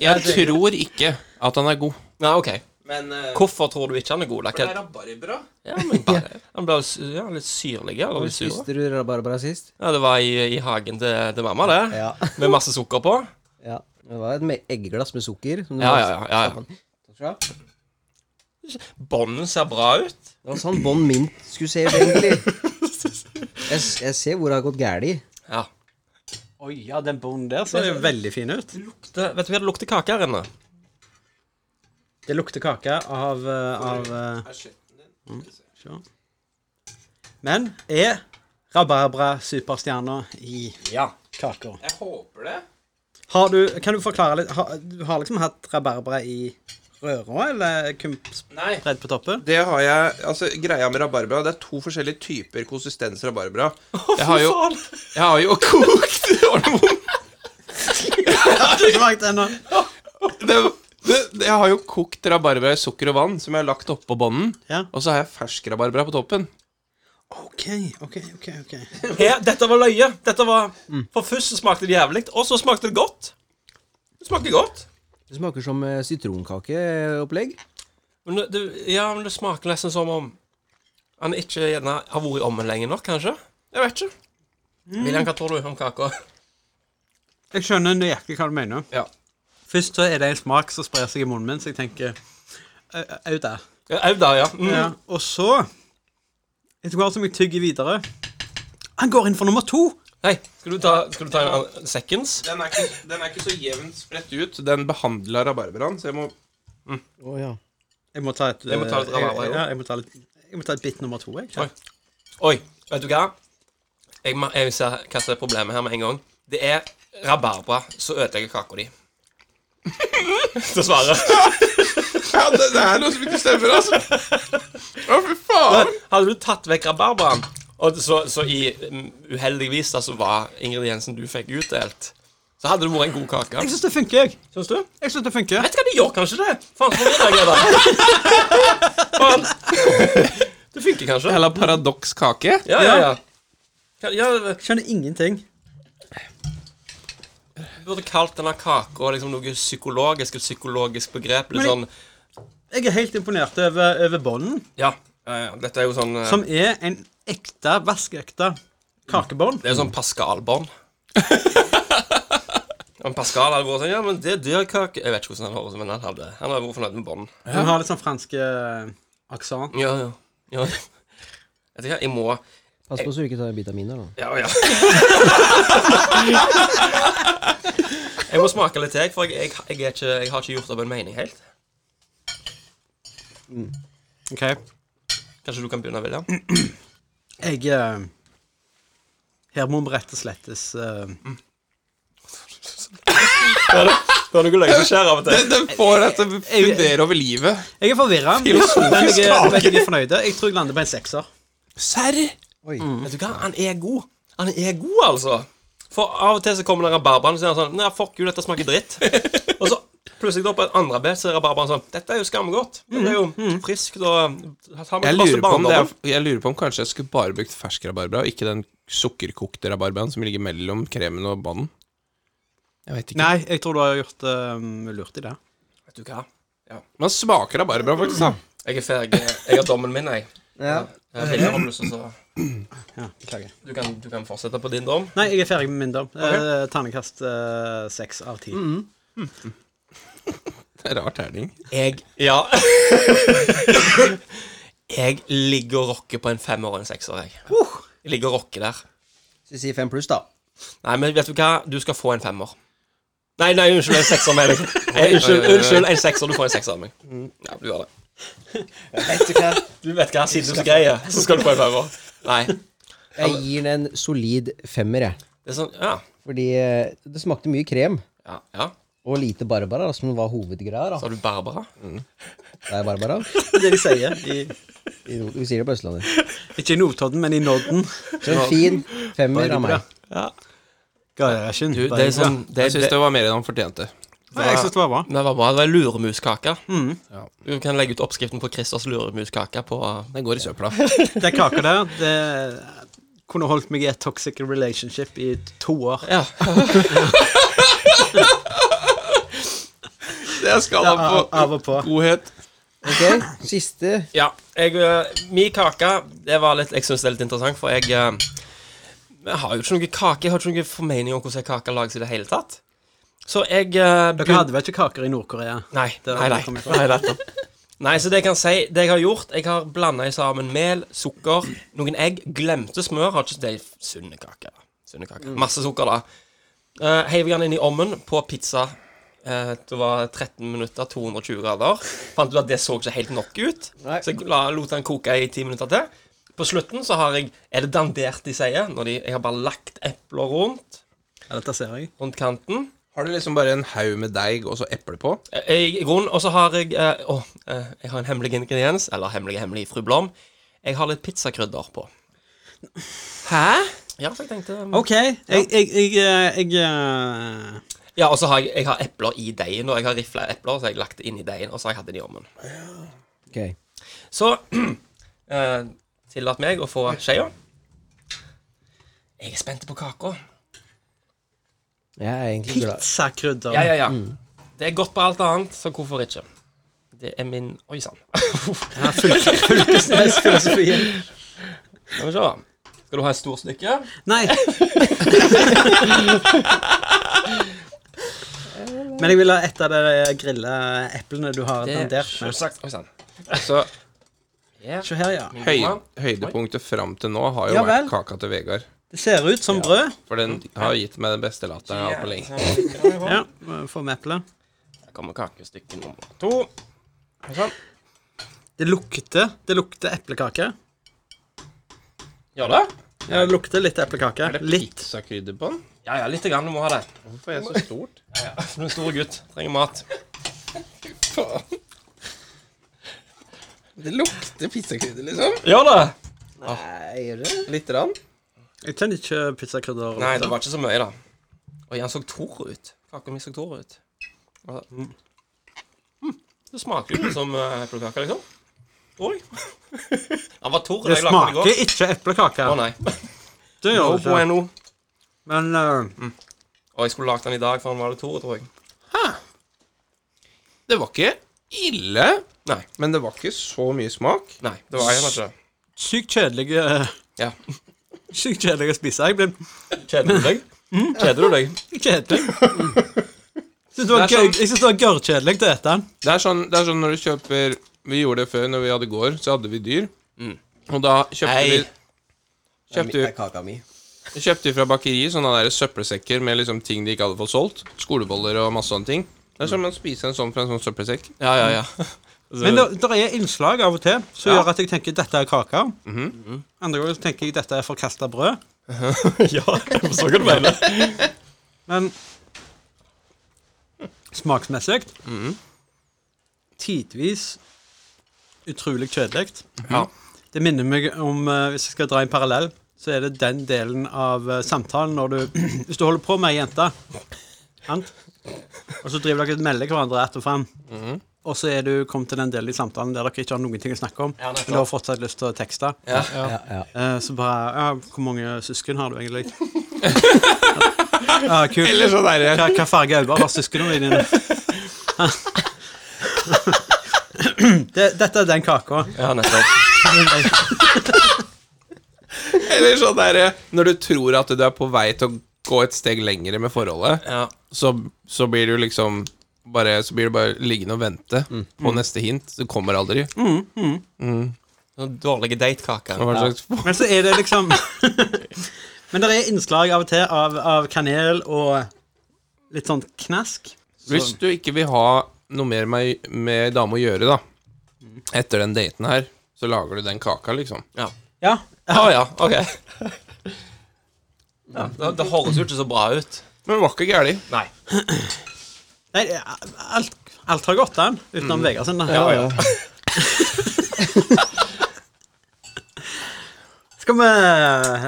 Jeg tror ikke at han er god. Nei, OK. Men Hvorfor tror du ikke han er god? eh, Det er ikke- rabarbra? Ja, men bare, han ble s- ja, litt syrlig. Eller Hvor litt sur. spiste du rabarbra sist? Ja, det var i, i hagen til, til mamma, det. Ja. Med masse sukker på. ja. Det var et me- eggeglass med sukker. Som du Ja, var- ja, ja. ja, ja. Takk skal du ha. Bånden ser bra ut. Det var sånn bånd min skulle se ut, egentlig. Jeg, s- jeg ser hvor det har gått galt i. Ja. Oi, ja, den bonden der ser jo veldig fin ut. Lukter, vet du hva det lukter kake her inne? Det lukter kake av, eh, av eh, se. Men er rabarbra superstjerna i Ja. kaker? Jeg håper det. Har du, kan du forklare litt? Har, du har liksom hatt rabarbra i røra, eller kun Nei. spredd på toppen? Det har jeg Altså, greia med rabarbra Det er to forskjellige typer konsistens rabarbra. Jeg har jo, jeg har jo kokt Det var noe vondt. Ikke smakt ennå. det, det, det, jeg har jo kokt rabarbra i sukker og vann, som jeg har lagt oppå bånden. Ja. Og så har jeg fersk rabarbra på toppen. OK, OK, OK. ok. Her, dette var løye. Dette var For først så smakte det jævlig, og så smakte det godt. Det smakte godt. Det smaker som eh, sitronkakeopplegg. Men det, det, ja, men det smaker nesten som om han ikke gjerne har vært i ommen lenge nok, kanskje. Jeg vet ikke. William, hva tror du om kaka? Jeg skjønner nøyaktig hva du mener. Ja. Først så er det en smak som sprer seg i munnen min, så jeg tenker au, au der. Au da, ja. Mm. Ja. Og så, etter hvert som jeg tygger videre Han går inn for nummer to! Hei, skal du ta, skal du ta en an- seconds? Den er, ikke, den er ikke så jevnt spredt ut. Den behandler rabarbraen, så jeg må Å ja. Jeg må ta et Jeg må ta litt eh, rabarbra, jo. ja, jeg må ta litt- jeg må ta et bit nummer to, jeg. Oi. Oi, vet du hva? Jeg, ma- jeg ser hva som er problemet her med en gang. Det er rabarbra som ødelegger kaka di. Dessverre. Ja, det, det er noe som ikke stemmer, altså. Å, fy faen. Hadde du tatt vekk rabarbraen, og så, så i mm, uheldigvis da, så var ingrediensen du fikk utdelt, så hadde det vært en god kake. Jeg syns det funker, jeg. Syns du? Jeg synes det funker. Vet du hva, det gjør kanskje det. Faen, så middag er det. Faen. Det funker kanskje. Eller paradokskake. Ja, ja, ja. Ka- ja du Skjønner ingenting. burde kalt denne kaka liksom noe psykologisk, et psykologisk begrep. Litt sånn Jeg er helt imponert over, over bånden, Ja, ja, ja. dette er jo sånn eh, som er en ekte, vaskeekte kakebånd. Det er jo sånn Pascal-bånd. Men Pascal hadde vært sånn Ja, men det der kake Jeg vet ikke hvordan han høres ut, men han hadde Han hadde vært fornøyd med bånd. Den har litt sånn fransk eh, aksent. Ja, ja. ja. Vet du hva, jeg må Pass på så du ikke tar en bit av min her, da. Ja, ja. jeg må smake litt til, for jeg, jeg, jeg, er ikke, jeg har ikke gjort opp en mening helt. Ok. Kanskje du kan begynne, William? Jeg eh, Her må vi rett og slettes eh, Det er noe løgn som skjer av og Den, den får deg til å fundere over livet. Jeg er forvirra, men jeg er veldig fornøyd. Jeg tror jeg lander på en sekser. Serr? Oi. Vet du hva, han er god. Han er god, altså. For av og til så kommer den rabarbraen og sier han sånn Nei, fuck you, dette smaker dritt. og så plutselig da på et andre bed så er rabarbraen sånn Dette er jo skamgodt. Det er jo friskt og tar med Jeg masse lurer, på om det er, barndom. jeg lurer på om kanskje jeg skulle bare brukt fersk rabarbra, og ikke den sukkerkokte rabarbraen som ligger mellom kremen og bånden. Jeg vet ikke. Nei, jeg tror du har gjort eh, lurt i det. Vet du hva, Man smaker rabarbra, faktisk. da jeg er ferdig. Jeg har dommen min, jeg. Ja. Jeg har William har lyst til å Ja, beklager. Du kan, du kan fortsette på din dom. Nei, jeg er ferdig med min dom. Eh, Ternekast eh, seks av ti. Det er rar terning. Jeg Ja. jeg ligger og rocker på en femmer og en sekser, jeg. Jeg ligger og rocker der. Så si fem pluss, da. Nei, men vet du hva? Du skal få en femmer. Nei, nei, unnskyld, en sekser, mener jeg. Eh, Unnskyld, unnskyld, en sekser. Du får en sekser av meg. Ja, du gjør det. Vet du hva? Mm. Du vet hva, siden du er så grei, så skal du få en femmer. Nei. Det Jeg gir den en solid femmer, jeg. er sånn Ja. Fordi eh, det smakte mye krem Ja. ja. og lite barbara, da, som var hovedgreia. da. Så har du Barbara. Det er barbara. Det er det de sier. I, I nord- Vi sier det på Østlandet. ikke i Notodden, men i Nodden. Så en fin femmer av Barbara. meg. Garasjen. Du, det er sånn det, Jeg det, syns det var mer enn han fortjente. Nei, jeg syns det var bra. det var bra. Det var luremuskake. Du kan legge ut oppskriften på Christers luremuskake på Den går i søpla. Det kaka der, det kunne holdt meg i et toxic relationship i to år. Ja. Det er skala Av, på av og på. godhet. Ok, Siste Ja, jeg, øh, min kake det var litt, Jeg syns det er litt interessant, for jeg, øh, jeg har jo ikke noe kake. Jeg har ikke noen formening om hvordan kake lages i det hele tatt. Så jeg øh, Dere hadde vel ikke kaker i Nord-Korea? Nei, Der nei, det nei, kommer fra. nei, nettopp. nei. Så det jeg kan si, det jeg har gjort Jeg har blanda sammen mel, sukker, noen egg, glemte smør. Har ikke det sunne kake. Sunne kake. Masse sukker, da. Uh, Heiv den inn i ovnen på pizza. Eh, det var 13 minutter, 220 grader. Fant ut at det så ikke helt nok ut, Nei. så jeg la, lot den koke i 10 minutter til. På slutten så har jeg Er det dandert de sier? Når de, jeg har bare lagt epler rundt, Ja, dette ser jeg. rundt kanten. Har du liksom bare en haug med deig og så eple på? Eh, I i grunnen, og så har jeg eh, Å, eh, jeg har en hemmelig ingrediens. Eller hemmelig, hemmelig, fru Blom. Jeg har litt pizzakrydder på. Hæ? Ja, så jeg tenkte mm. OK. Jeg, jeg, jeg, eh, jeg, eh, Ja, og så har jeg, jeg har epler i deigen, og jeg har rifla epler, så jeg lagt det inn i deigen, og så har jeg hatt det i ovnen. Ok. Så eh, tillat meg å få skjea. Jeg er spent på kaka. Jeg er egentlig glad Pizzakrydder. Ja, ja, ja. Det er godt på alt annet, så hvorfor ikke? Det er min Oi sann. Fylkesnes filosofi. Skal vi se. Skal du ha et stort stykke? Nei. Men jeg vil ha et av de grilleeplene du har dandert med. selvsagt. Oi sann. Så Her. Se her, ja. høy, høydepunktet fram til nå har jo Ja vel. vært kaka til Vegard. Det ser ut som brød. For den har gitt meg den beste latteren jeg har hatt på lenge. Ja, Få med eplet. Her kommer kakestykke nummer to. Oi sann. Det lukter det lukter eplekake. Gjør det? Ja, det lukter litt eplekake. Er det Litt. pizzakrydder på den? Ja ja, lite grann. Du må ha det. Hvorfor er det så stort? Du er en stor gutt. Trenger mat. Det lukter pizzakrydder, liksom. Gjør det? Lite grann. Jeg kjenner ikke pizzakrydder. Nei, det var ikke så mye, da. Oi, han så tor ut. Kaka mi så tor ut. Altså, mm. Mm, Det smaker jo som eh, eplekake, liksom. Oi. Han var tor da Det jeg lagde den i går. smaker ikke eplekake. Å nei. Det gjør Oh, det ikke. bueno. Men eh, Og jeg skulle lagd den i dag, for han var det tor, tror jeg. Det var ikke ille, Nei. men det var ikke så mye smak. Nei, det var jeg ikke. sykt kjedelig eh, Ja. Sykt kjedelig å spise. Jeg ble Kjeder du deg? Mm. Kjeder du deg? kjedelig. Synes det var Det er gøy- Jeg syns det var gørrkjedelig til å ete den. Det er, sånn, det er sånn når du kjøper Vi gjorde det før, når vi hadde gård, så hadde vi dyr. Og da kjøpte Nei. vi kjøpte, Det er vi- kaka mi. kjøpte vi fra bakeri sånne der søppelsekker med liksom ting de ikke hadde fått solgt. Skoleboller og masse sånne ting. Det er som å spise en sånn fra en sånn søppelsekk. Ja, ja, ja. Men det der er innslag av og til som gjør at jeg tenker dette er kake. Andre ganger så tenker jeg dette er forkasta brød. Mhm. ja, jeg forstår hva du mener. Men smaksmessig Mhm. Tidvis utrolig kjedelig. Ja. Det minner meg om, eh, hvis jeg skal dra en parallell, så er det den delen av eh, samtalen når du Hvis du holder på med ei jente, sant? og så driver dere og melder hverandre ett og fram, og så er du kommet til den delen i samtalen der dere ikke har noen ting å snakke om, men du har fortsatt lyst til å tekste. Ja, ja. Eh, Så bare ja, Hvor mange søsken har du egentlig? ja, kult. Eller sånn derre Hva, hva farge øyne har søsknene dine? det, dette er den kaka. Ja, nettopp. Eller sånn derre Når du tror at du er på vei til å gå et steg lengre med forholdet, Ja. så, så blir du liksom bare, så blir du bare liggende og vente på neste hint. Du kommer aldri. Sånn Dårlige datekaker. Hva slags Men så er det liksom Men det er innslag av og til av, av kanel og litt sånn knask. Hvis du ikke vil ha noe mer med, med dame å gjøre, da, etter den daten her, så lager du den kaka, liksom. Ah, Ja. Ja. Å ja, ok. Ja, det, det høres jo ikke så bra ut. Men det var ikke gæli. Nei. Nei, det er- alt, alt har gått an, utenom Mm. Vegard sin. da. Skal vi,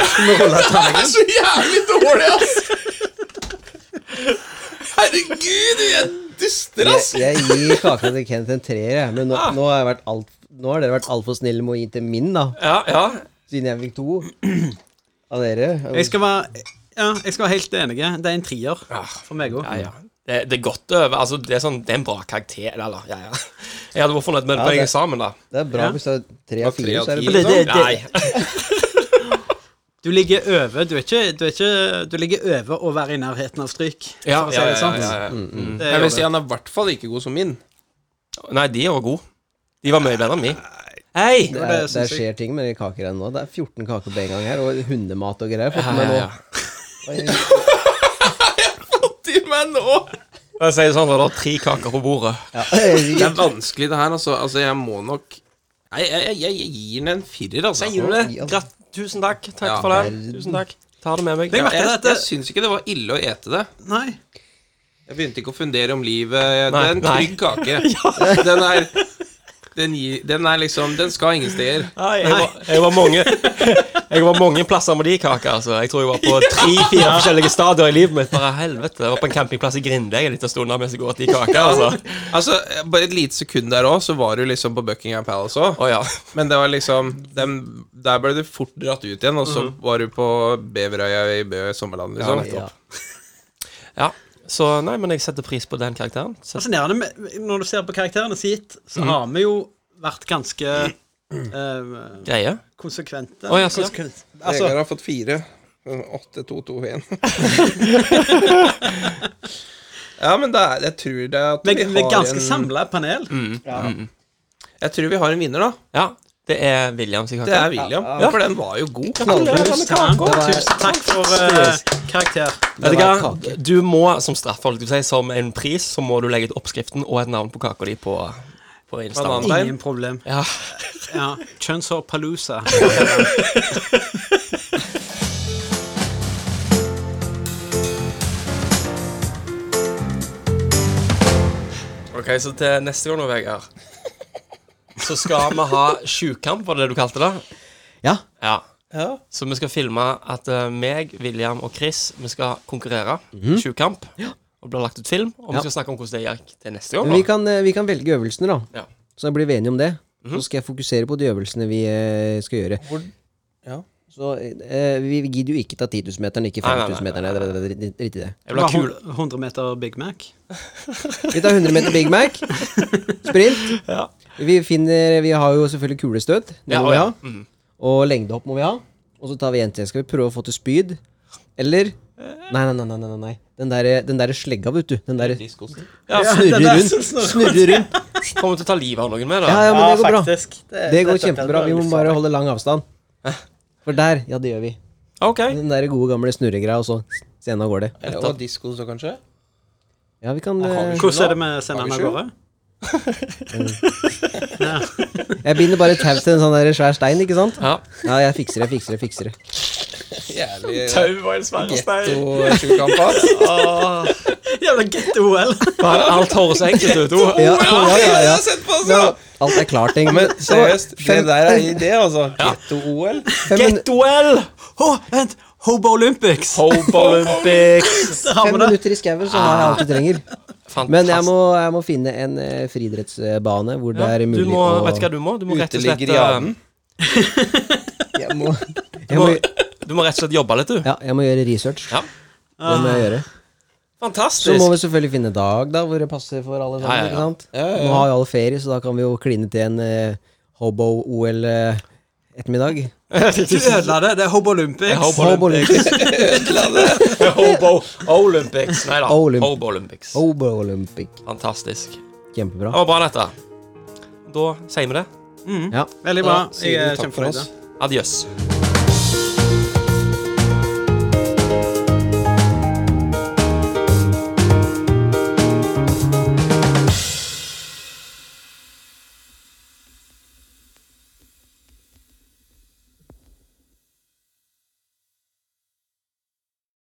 skal vi rulle terningen? Så jævlig dårlig, ass! Herregud, du er dyster, Jeg, jeg gir kaka til Kenneth en treer, jeg. Men nå, nå, har jeg vært alt, nå har dere vært altfor snille med å gi til min, da. Ja, ja. Siden jeg fikk to av dere. Jeg skal være ja, jeg skal være helt enig. Det er en trier for meg òg. Ah. ja, ja. Det, det er godt å øve. Altså, det er sånn, det er en bra karakter, eller? Ja, ja. Jeg hadde vært fornøyd med Ja, ja, det- eksamen, da. Det er bra Ja. hvis det er tre av tre av fire, så er ti. det bra. Nei. Du ligger over Du, er ikke, du, er ikke, du ligger over å være i nærheten av stryk. Ja, for å si ja, det ja, sant. ja, ja. Det Jeg gjør vil si det. han er i hvert fall ikke god som min. Nei, de var gode. De var mye bedre enn min. Hei! Det, er, Ja, det det synes jeg. skjer ting med de kakegreiene nå. Det er 14 kaker på en gang her, og hundemat og greier. Fått Ja, med ja, nå. ja. Oi, Til meg nå! Jeg sier det sånn, så det er tre kaker på bordet. Det ja. er vanskelig, det her, altså. Altså, jeg må nok Nei, jeg, jeg, jeg, jeg gir den en firer, altså. Jeg gir det. Ja. Gratt. Tusen takk. Takk Ja. for det. Tusen takk. Ta det med meg. Legg Ja. merke til Jeg, dette. jeg syns ikke det var ille å ete det. Nei. Jeg begynte ikke å fundere om livet. Det Nei, er en nei. trygg kake. Den er den, gir, den er liksom Den skal ingen steder. Nei, jeg var, jeg var mange Jeg var mange plasser med de kaker. Altså. Jeg tror jeg var på tre-fire forskjellige stadier i livet mitt. Bare helvete, Jeg var på en campingplass i Grinde jeg er litt av stunden mens jeg går til de kaker. Altså. Altså, Bare et lite sekund der òg, så var du liksom på Buckingham Palace òg. Å ja. Men det var liksom dem, Der ble du fort dratt ut igjen, og så var du på Beverøya i Bø i Sommerland, liksom. Ja, Ja. ja. Så nei, men jeg setter pris på den karakteren. Så, Fascinerende med- når du ser på karakterene som gitt, så har vi jo vært ganske eh, greie. konsekvente. Å, ja, så- Konsekvent. Altså, Altså, har fått fire. Åtte, to, to, én. Ja, men det er, jeg tror det er at vi vi er ganske en, samla panel. Jeg tror vi har en vinner, da. Ja, det er Williams i Det er karakter. William. Ja. For den var jo god. Tusen takk, Det var- tusen takk for eh, karakter. Vet du Det var hva? kake. Du må som straff, holdt jeg på å si, som en pris, så må du legge ut oppskriften og et navn på kaka di på, på Instagram. Banan. Stein. Ingen problem. Ja. Ja. Kjønnshår palusa. Ok, så til neste gang nå, Vegard, så skal vi ha sjukamp, var det det du kalte det? Ja. Ja. Så vi skal filme at eh, meg, William og Chris, vi skal konkurrere. Sjukamp. Og blir lagt ut film. Og vi Mhm. Ja. skal snakke om hvordan det gikk til neste gang. Men vi Da. kan, eh, vi kan velge øvelsene, da. Ja. Så blir vi enige om det. Så skal jeg fokusere på de øvelsene vi eh, skal gjøre. ja. Så eh, vi vi gidder jo ikke ta 10 000-meteren, ikke Nei, nei, 5000 meteren. Det er- det er- det er- Drit i det. Jeg vil ha kul. 100 meter Big Mac. Vi tar 100 meter Big Mac. Sprint. Ja. Vi, finner, vi har jo selvfølgelig kulestøt. Det Ja, må og vi ja. Mm. ha. Og lengdehopp må vi ha. Og så tar vi en til. Skal vi prøve å få til spyd? Eller Eh. Nei, nei, nei. nei, nei, nei. Den derre den der slegga, vet du. Den derre Ja, snurrer den der rundt. som snurrer. Snurrer rundt. Kommer til å ta livet av noen med, da. Ja, ja, men det går bra. Det, Det går kjempebra. Vi må bare holde lang avstand. Eh. For der, ja, det gjør vi. Ok. Den der gode gamle snurregreia, og så sena går det. Eller det var disko, så kanskje? Ja, vi kan eh, Hvordan er det med senderen av Har vi gårde? Jeg binder bare tau til en sånn der svær stein, ikke sant? Ja. Ja, jeg fikser det, jeg fikser det, jeg fikser det. Jævlig Tau var en svære stein. getto-sjukamp, ass. Jævla get-OL! Bare alt høres enkelt ut. Oh, Ja, ja, ja, Jeg ja. har sett på, Ja, altså! alt er klart, egentlig. Men seriøst, det fem- der er en idé, altså. Getto-OL. Fem, min Get-OL! Å, vent! Hobo Olympics! Hobolympics. Der har fem vi det. minutter i skauen, så har jeg alt du trenger. Men jeg må, jeg må finne en eh, friidrettsbane hvor det er mulig du må, å Vet du hva du må? Du må rett og slett Uteligger i eh, Arden. Jeg må, du jeg må, må, du må rett og slett jobbe litt, du. ja, jeg må gjøre research. Ja. Det må Ah. jeg gjøre. Så Fantastisk. må vi selvfølgelig finne dag da hvor det passer for alle sammen. Ja, ja, ja. ikke sant? Ja, ja, ja. Nå har jo alle ferie, så da kan vi jo kline til en eh, hobo-OL-ettermiddag. Du ødela det. Det er Hobo Olympics. hobo Olympics. Hobo Olympics. Nei da. Olymp- Hobo Olympics. hobo Olympic. Fantastisk. Kjempebra. Det var bra, dette. Da sier vi det. Ja. Veldig bra. Da sier Jeg vi er takk for kjempefornøyd. oss. Adjøs.